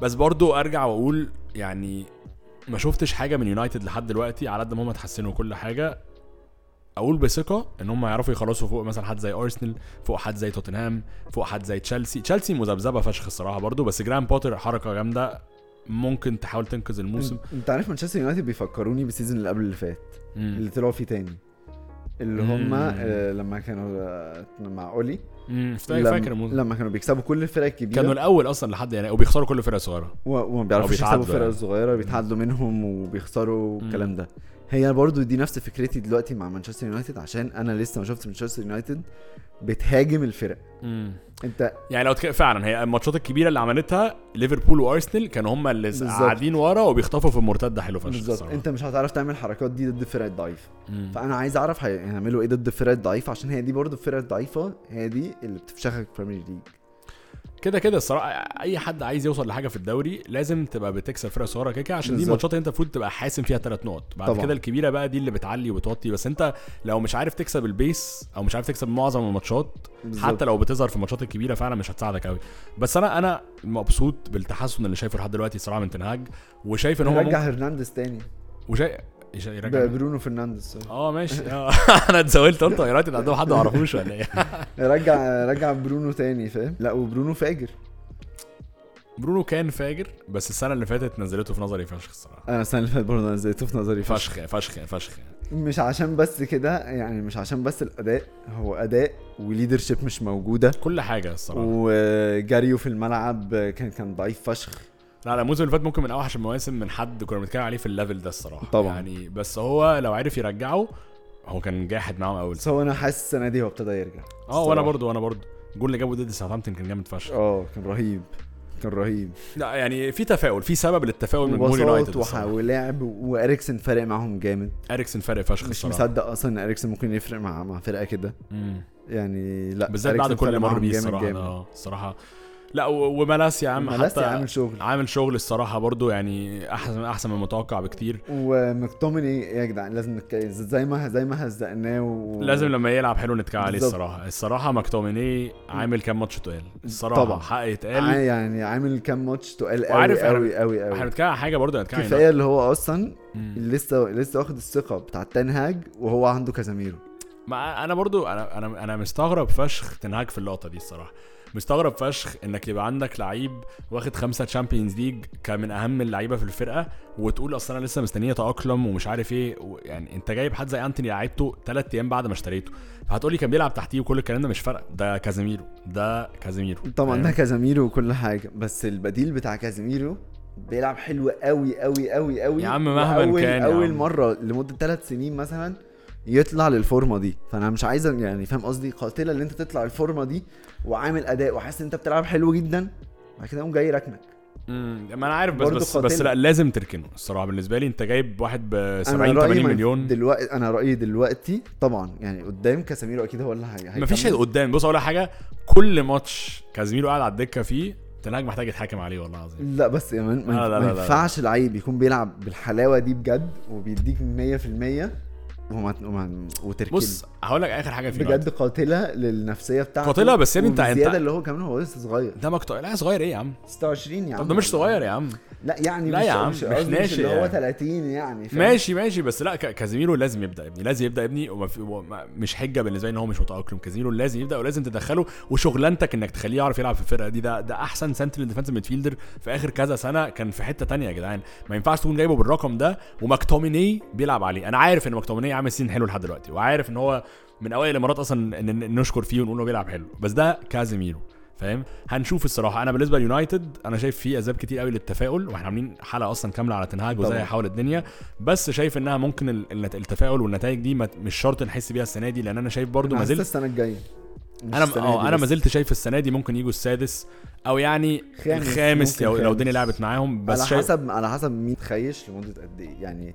Speaker 1: بس برضو ارجع واقول يعني ما شفتش حاجه من يونايتد لحد دلوقتي على قد ما هم اتحسنوا كل حاجه اقول بثقه ان هم يعرفوا يخلصوا فوق مثلا حد زي ارسنال فوق حد زي توتنهام فوق حد زي تشيلسي تشيلسي مذبذبه فشخ الصراحه برضو بس جرام بوتر حركه جامده ممكن تحاول تنقذ الموسم
Speaker 2: انت عارف مانشستر يونايتد بيفكروني بالسيزون اللي قبل اللي فات
Speaker 1: مم.
Speaker 2: اللي طلعوا فيه تاني اللي
Speaker 1: مم.
Speaker 2: هم آه، لما كانوا آه، مع اولي
Speaker 1: مم. فاكر
Speaker 2: لما-
Speaker 1: أيوة، فاكر الموسم
Speaker 2: لما كانوا بيكسبوا كل الفرق الكبيره
Speaker 1: كانوا الاول اصلا لحد يعني وبيخسروا كل فرقه صغيره
Speaker 2: و- وما بيعرفوش
Speaker 1: بيتعدوا
Speaker 2: يكسبوا الفرق
Speaker 1: يعني.
Speaker 2: الصغيره بيتعدوا منهم وبيخسروا الكلام ده هي برضو دي نفس فكرتي دلوقتي مع مانشستر يونايتد عشان انا لسه ما شفتش مانشستر يونايتد بتهاجم الفرق
Speaker 1: مم.
Speaker 2: انت
Speaker 1: يعني لو تك... فعلا هي الماتشات الكبيره اللي عملتها ليفربول وارسنال كانوا هم اللي
Speaker 2: بالظبط.
Speaker 1: قاعدين ورا وبيخطفوا في المرتده حلو فشخ
Speaker 2: بالظبط
Speaker 1: الصراحة.
Speaker 2: انت مش هتعرف تعمل الحركات دي ضد الفرق الضعيفه
Speaker 1: مم.
Speaker 2: فانا عايز اعرف هي- هيعملوا ايه ضد الفرق الضعيفه عشان هي دي برضو الفرق الضعيفه هي دي اللي بتفشخك البريمير ليج
Speaker 1: كده كده الصراحه اي حد عايز يوصل لحاجه في الدوري لازم تبقى بتكسب فرقه صغيره كده كده عشان دي
Speaker 2: بالظبط.
Speaker 1: الماتشات انت المفروض تبقى حاسم فيها ثلاث نقط بعد
Speaker 2: طبعا.
Speaker 1: كده الكبيره بقى دي اللي بتعلي وبتوطي بس انت لو مش عارف تكسب البيس او مش عارف تكسب معظم الماتشات
Speaker 2: بالظبط.
Speaker 1: حتى لو بتظهر في الماتشات الكبيره فعلا مش هتساعدك قوي بس انا انا مبسوط بالتحسن اللي شايفه لحد دلوقتي الصراحه من تنهاج وشايف ان هو
Speaker 2: رجع
Speaker 1: ممكن
Speaker 2: هرنانديز تاني
Speaker 1: وشايف يرجع مين؟
Speaker 2: برونو فرنانديز sorry.
Speaker 1: اه ماشي آه. انا اتزولت قلت يونايتد عندهم حد ما اعرفوش ولا ايه
Speaker 2: رجع رجع برونو تاني فاهم لا وبرونو فاجر
Speaker 1: برونو كان فاجر بس السنه اللي فاتت نزلته في نظري فشخ الصراحه
Speaker 2: انا السنه اللي فاتت برضه نزلته في نظري فشخ
Speaker 1: فشخ فشخ فشخ يعني.
Speaker 2: مش عشان بس كده يعني مش عشان بس الاداء هو اداء وليدرشيب مش موجوده
Speaker 1: كل حاجه الصراحه
Speaker 2: وجاريو في الملعب كان كان ضعيف فشخ
Speaker 1: لا لا الموسم اللي فات ممكن من اوحش المواسم من حد كنا بنتكلم عليه في الليفل ده الصراحه
Speaker 2: طبعاً.
Speaker 1: يعني بس هو لو عرف يرجعه هو كان جاحد معاهم اول
Speaker 2: بس هو انا حاسس السنه دي هو ابتدى يرجع
Speaker 1: اه وانا
Speaker 2: الصراحة.
Speaker 1: برضو وانا برضو الجول اللي جابه ضد ساوثهامبتون كان جامد فشخ
Speaker 2: اه كان رهيب كان رهيب
Speaker 1: لا يعني في تفاؤل في سبب للتفاؤل من جمهور
Speaker 2: وبساط
Speaker 1: يونايتد
Speaker 2: وح-
Speaker 1: الصراحة.
Speaker 2: ولعب واريكسن فارق معاهم جامد
Speaker 1: اريكسن فارق فشخ
Speaker 2: مش
Speaker 1: الصراحه
Speaker 2: مصدق اصلا ان اريكسن ممكن يفرق مع مع فرقه كده
Speaker 1: مم.
Speaker 2: يعني لا
Speaker 1: بالذات بعد
Speaker 2: أريكسن
Speaker 1: كل
Speaker 2: فارق
Speaker 1: اللي مر
Speaker 2: معاهم
Speaker 1: بيه
Speaker 2: جامد
Speaker 1: الصراحه
Speaker 2: جامد.
Speaker 1: أنا الصراحه اه، لا و- وملاس يا عم
Speaker 2: ملاس
Speaker 1: حتى
Speaker 2: عامل شغل
Speaker 1: عامل شغل الصراحه برضو يعني احسن احسن من المتوقع بكتير
Speaker 2: ومكتومني إيه؟ يا جدعان لازم نتكلم زي ما زي ما هزقناه و...
Speaker 1: لازم لما يلعب حلو نتكلم عليه
Speaker 2: بالظبط.
Speaker 1: الصراحه الصراحه ماكتوميني عامل كام ماتش تقال الصراحه
Speaker 2: طبعا.
Speaker 1: حق
Speaker 2: عا-
Speaker 1: يتقال
Speaker 2: يعني عامل كام ماتش تقال قوي
Speaker 1: وعارف أنا-
Speaker 2: قوي قوي
Speaker 1: احنا
Speaker 2: قوي
Speaker 1: بنتكلم على حاجه برضو هنتكلم عليها.
Speaker 2: كفايه اللي هو اصلا
Speaker 1: مم.
Speaker 2: لسه لسه واخد الثقه بتاع تنهاج وهو عنده كازاميرو
Speaker 1: ما انا برضو انا انا انا مستغرب فشخ تنهاج في اللقطه دي الصراحه مستغرب فشخ انك يبقى عندك لعيب واخد خمسه تشامبيونز ليج كمن اهم اللعيبه في الفرقه وتقول اصل انا لسه مستنيه اتاقلم ومش عارف ايه و- يعني انت جايب حد زي انتوني لعبته ثلاث ايام بعد ما اشتريته فهتقولي كان بيلعب تحتيه وكل الكلام ده مش فارقه ده كازيميرو ده كازيميرو
Speaker 2: طبعا
Speaker 1: فاهم؟
Speaker 2: ده كازاميرو وكل حاجه بس البديل بتاع كازاميرو بيلعب حلو قوي قوي قوي قوي
Speaker 1: يا عم مهما
Speaker 2: وأول-
Speaker 1: كان يا
Speaker 2: اول
Speaker 1: عم.
Speaker 2: مره لمده ثلاث سنين مثلا يطلع للفورمه دي فانا مش عايز يعني فاهم قصدي قاتله اللي انت تطلع الفورمه دي وعامل اداء وحاسس ان انت بتلعب حلو جدا بعد كده يقوم جاي راكنك
Speaker 1: امم ما انا عارف بس
Speaker 2: برضو
Speaker 1: بس,
Speaker 2: قاتل.
Speaker 1: بس لا لازم تركنه الصراحه بالنسبه لي انت جايب واحد ب
Speaker 2: انا
Speaker 1: 70
Speaker 2: رايي
Speaker 1: 80
Speaker 2: ما-
Speaker 1: مليون
Speaker 2: دلوقتي انا رايي دلوقتي طبعا يعني قدام كاساميرو اكيد هو اللي هي-
Speaker 1: مفيش
Speaker 2: هيكمل.
Speaker 1: قدام بص اقول لك حاجه كل ماتش كازيميرو قاعد على الدكه فيه تنهاج محتاج يتحاكم عليه والله العظيم
Speaker 2: لا بس يا مان،
Speaker 1: لا،
Speaker 2: ما
Speaker 1: لا،
Speaker 2: ما
Speaker 1: لا، لا.
Speaker 2: ينفعش لعيب يكون بيلعب بالحلاوه دي بجد وبيديك 100% وما وما وتركيبه
Speaker 1: بص هقول لك اخر حاجه في
Speaker 2: بجد قاتله للنفسيه بتاعته
Speaker 1: قاتلة، بس يا ابني انت- انت-
Speaker 2: زياده اللي هو كمان هو لسه صغير
Speaker 1: ده مقطع لا صغير ايه يا عم
Speaker 2: 26 يا عم
Speaker 1: طب ده مش صغير يا عم
Speaker 2: لا يعني
Speaker 1: لا
Speaker 2: مش
Speaker 1: يا عم،
Speaker 2: مش,
Speaker 1: مش
Speaker 2: قصدي مش
Speaker 1: ناشئ
Speaker 2: اللي هو
Speaker 1: يعني.
Speaker 2: 30 يعني فاهم؟
Speaker 1: ماشي ماشي بس لا ك- كازيميرو لازم يبدا يا ابني لازم يبدا يا ابني وما في- وما- مش حجه بالنسبه لي ان هو مش متاقلم كازيميرو لازم يبدا ولازم تدخله وشغلانتك انك تخليه يعرف يلعب في الفرقه دي ده ده احسن سنترال ديفensive ميدفيلدر في اخر كذا سنه كان في حته تانية يا جدعان ما ينفعش تكون جايبه بالرقم ده ومكتوميني بيلعب عليه انا عارف ان مكتوميني عامل سين حلو لحد دلوقتي وعارف ان هو من اوائل الامارات اصلا ان إن نشكر فيه ونقول له بيلعب حلو بس ده كازيميرو فاهم هنشوف الصراحه انا بالنسبه ليونايتد انا شايف في اسباب كتير قوي للتفاؤل واحنا عاملين حلقه اصلا كامله على تنهاج وازاي
Speaker 2: طبعاً.
Speaker 1: حول الدنيا بس شايف انها ممكن ال- النت- التفاؤل والنتائج دي ما- مش شرط نحس بيها السنه دي لان انا شايف برضو
Speaker 2: أنا
Speaker 1: ما
Speaker 2: حاسس
Speaker 1: زلت
Speaker 2: السنه الجايه مش
Speaker 1: انا
Speaker 2: السنة
Speaker 1: اه
Speaker 2: دي
Speaker 1: انا
Speaker 2: بس.
Speaker 1: ما زلت شايف السنه دي ممكن يجوا السادس او يعني
Speaker 2: خامس،
Speaker 1: الخامس
Speaker 2: ممكن
Speaker 1: لو لو
Speaker 2: خامس.
Speaker 1: الدنيا لعبت معاهم
Speaker 2: على
Speaker 1: بس شايف
Speaker 2: حسب على حسب مين تخيش لمده قد ايه يعني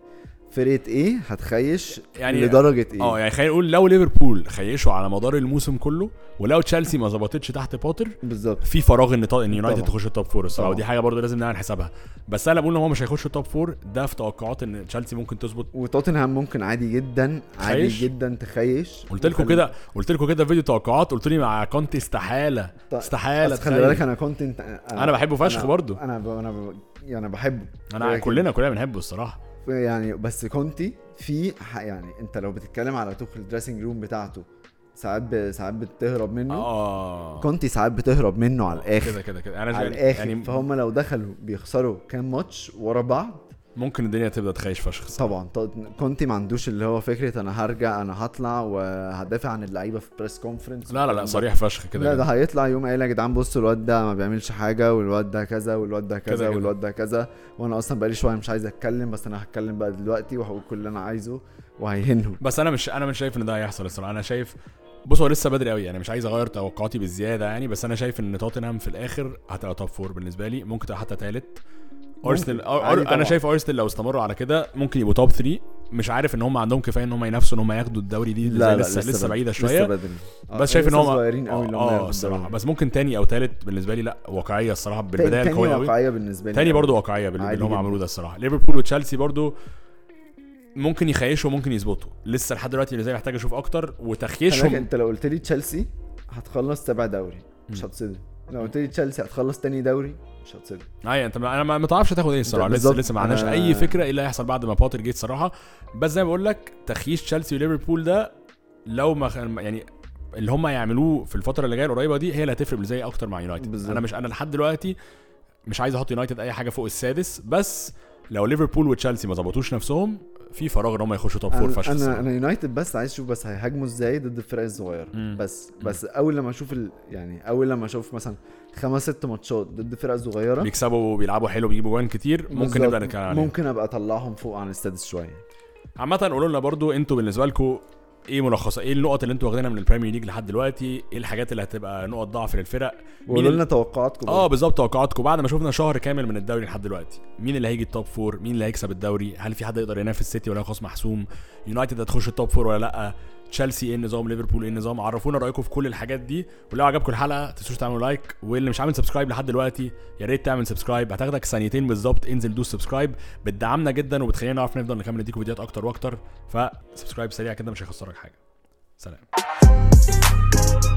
Speaker 2: فرقه ايه هتخيش يعني
Speaker 1: يعني-
Speaker 2: لدرجه ايه
Speaker 1: اه يعني خلينا نقول لو ليفربول خيشوا على مدار الموسم كله ولو تشيلسي ما ظبطتش تحت بوتر
Speaker 2: بالظبط
Speaker 1: في فراغ ان طا- ان يونايتد
Speaker 2: طبعاً.
Speaker 1: تخش التوب فور الصراحه
Speaker 2: طبعاً.
Speaker 1: ودي حاجه برضو لازم نعمل حسابها بس انا بقول ان هو مش هيخش التوب فور ده في توقعات ان تشيلسي ممكن تظبط
Speaker 2: وتوتنهام ممكن عادي جدا عادي
Speaker 1: تخيش؟
Speaker 2: جدا تخيش
Speaker 1: قلت لكم
Speaker 2: وخلي-
Speaker 1: كده قلت لكم كده في فيديو توقعات قلت لي مع كونتي استحاله
Speaker 2: طيب،
Speaker 1: استحاله
Speaker 2: بس خلي
Speaker 1: تخيل.
Speaker 2: بالك انا كنت انت انا,
Speaker 1: انا بحبه فشخ
Speaker 2: أنا-
Speaker 1: برضو
Speaker 2: انا ب... انا ب... يعني بحبه
Speaker 1: انا
Speaker 2: لكن-
Speaker 1: كلنا كلنا بنحبه الصراحه
Speaker 2: يعني بس كونتي في ح- يعني انت لو بتتكلم على توخل الدريسنج روم بتاعته ساعات ب... ساعات بتهرب منه
Speaker 1: اه
Speaker 2: كونتي ساعات بتهرب منه على
Speaker 1: كده
Speaker 2: الاخر
Speaker 1: كده كده انا
Speaker 2: على
Speaker 1: شايف-
Speaker 2: الاخر
Speaker 1: يعني
Speaker 2: يعني فهم لو دخلوا بيخسروا كام ماتش ورا بعض
Speaker 1: ممكن الدنيا تبدا تخيش فشخ الصراحة.
Speaker 2: طبعا ط- كونتي ما عندوش اللي هو فكره انا هرجع انا هطلع وهدافع عن اللعيبه في بريس كونفرنس
Speaker 1: لا لا لا صريح فشخ
Speaker 2: لا
Speaker 1: كده كده.
Speaker 2: ده هيطلع يوم قايل يا جدعان بصوا الواد ده ما بيعملش حاجه والواد ده كذا والواد ده
Speaker 1: كده
Speaker 2: كذا
Speaker 1: كده.
Speaker 2: والواد ده كذا وانا اصلا بقالي شويه مش عايز اتكلم بس انا هتكلم بقى دلوقتي وهقول كل اللي انا عايزه وهيهنهم
Speaker 1: بس انا مش انا مش شايف ان ده هيحصل الصراحه انا شايف بص هو لسه بدري قوي يعني مش عايز اغير توقعاتي بالزياده يعني بس انا شايف ان توتنهام في الاخر هتبقى توب فور بالنسبه لي ممكن تبقى حتى تالت ارسنال أر-
Speaker 2: عادي
Speaker 1: أر-
Speaker 2: طبعاً.
Speaker 1: انا شايف ارسنال لو استمروا على كده ممكن يبقوا توب 3 مش عارف ان هم عندهم كفايه ان هم ينافسوا ان هم ياخدوا الدوري دي لسه لسه, لسه
Speaker 2: بدري.
Speaker 1: بعيده
Speaker 2: لسه
Speaker 1: شويه
Speaker 2: بدري آه،
Speaker 1: بس شايف ان
Speaker 2: لسه
Speaker 1: هم
Speaker 2: صغيرين قوي اللي هم
Speaker 1: اه
Speaker 2: ياخدوا
Speaker 1: الصراحه
Speaker 2: الدوري.
Speaker 1: بس ممكن تاني او تالت بالنسبه لي لا واقعيه الصراحه بالبدايه
Speaker 2: تاني
Speaker 1: القويه قوي
Speaker 2: واقعيه بالنسبه لي
Speaker 1: تاني
Speaker 2: قوي.
Speaker 1: برضو واقعيه بال-
Speaker 2: آه، عادي
Speaker 1: باللي هم
Speaker 2: جداً.
Speaker 1: عملوه ده الصراحه ليفربول وتشيلسي برضو ممكن يخيشوا وممكن يظبطوا لسه لحد دلوقتي بالنسبه لي محتاج اشوف اكتر
Speaker 2: خلي بالك
Speaker 1: وتخيشهم
Speaker 2: انت لو قلت لي تشيلسي هتخلص سبع دوري مش
Speaker 1: مم.
Speaker 2: هتصدم لو قلت لي تشيلسي هتخلص تاني دوري مش هتصدم
Speaker 1: ايوه انت ما- انا ما ما تعرفش تاخد ايه الصراحه لسه
Speaker 2: بالظبط.
Speaker 1: لسه ما عندناش
Speaker 2: أنا-
Speaker 1: اي فكره ايه اللي هيحصل بعد ما بوتر جيت صراحه بس زي ما بقول لك تخييش تشيلسي وليفربول ده لو ما خ- يعني اللي هم هيعملوه في الفتره اللي جايه القريبه دي هي اللي هتفرق زي اكتر مع يونايتد
Speaker 2: بالظبط.
Speaker 1: انا مش انا لحد دلوقتي مش عايز احط يونايتد اي حاجه فوق السادس بس لو ليفربول وتشيلسي ما ظبطوش نفسهم في فراغ ان هم يخشوا توب فور
Speaker 2: انا
Speaker 1: فشخ
Speaker 2: انا,
Speaker 1: الصراحة.
Speaker 2: أنا يونايتد بس عايز اشوف بس هيهاجموا ازاي ضد الفرق الصغيره
Speaker 1: مم.
Speaker 2: بس بس اول لما اشوف ال... يعني اول لما اشوف مثلا خمس ست ماتشات ضد فرق صغيره
Speaker 1: بيكسبوا وبيلعبوا حلو بيجيبوا جوان كتير ممكن
Speaker 2: بالظبط.
Speaker 1: نبدا نتكلم عليهم
Speaker 2: ممكن ابقى اطلعهم فوق عن السادس شويه
Speaker 1: عامة قولوا لنا برضو انتوا بالنسبة لكم ايه ملخصة ايه النقط اللي انتوا واخدينها من البريمير ليج لحد دلوقتي ايه الحاجات اللي هتبقى نقط ضعف للفرق مين
Speaker 2: وقولوا
Speaker 1: ال-
Speaker 2: لنا توقعاتكم إيه؟
Speaker 1: اه
Speaker 2: برضه.
Speaker 1: بالظبط توقعاتكم بعد ما شفنا شهر كامل من الدوري لحد دلوقتي مين اللي هيجي التوب فور مين اللي هيكسب الدوري هل في حد يقدر ينافس السيتي ولا خصم محسوم يونايتد هتخش التوب فور ولا لا تشيلسي ايه النظام ليفربول ايه النظام عرفونا رايكم في كل الحاجات دي ولو عجبكم الحلقه تنسوش تعملوا لايك واللي مش عامل سبسكرايب لحد دلوقتي يا ريت تعمل سبسكرايب هتاخدك ثانيتين بالظبط انزل دوس سبسكرايب بتدعمنا جدا وبتخلينا نعرف نفضل نكمل نديكم فيديوهات اكتر واكتر فسبسكرايب سريع كده مش هيخسرك حاجه سلام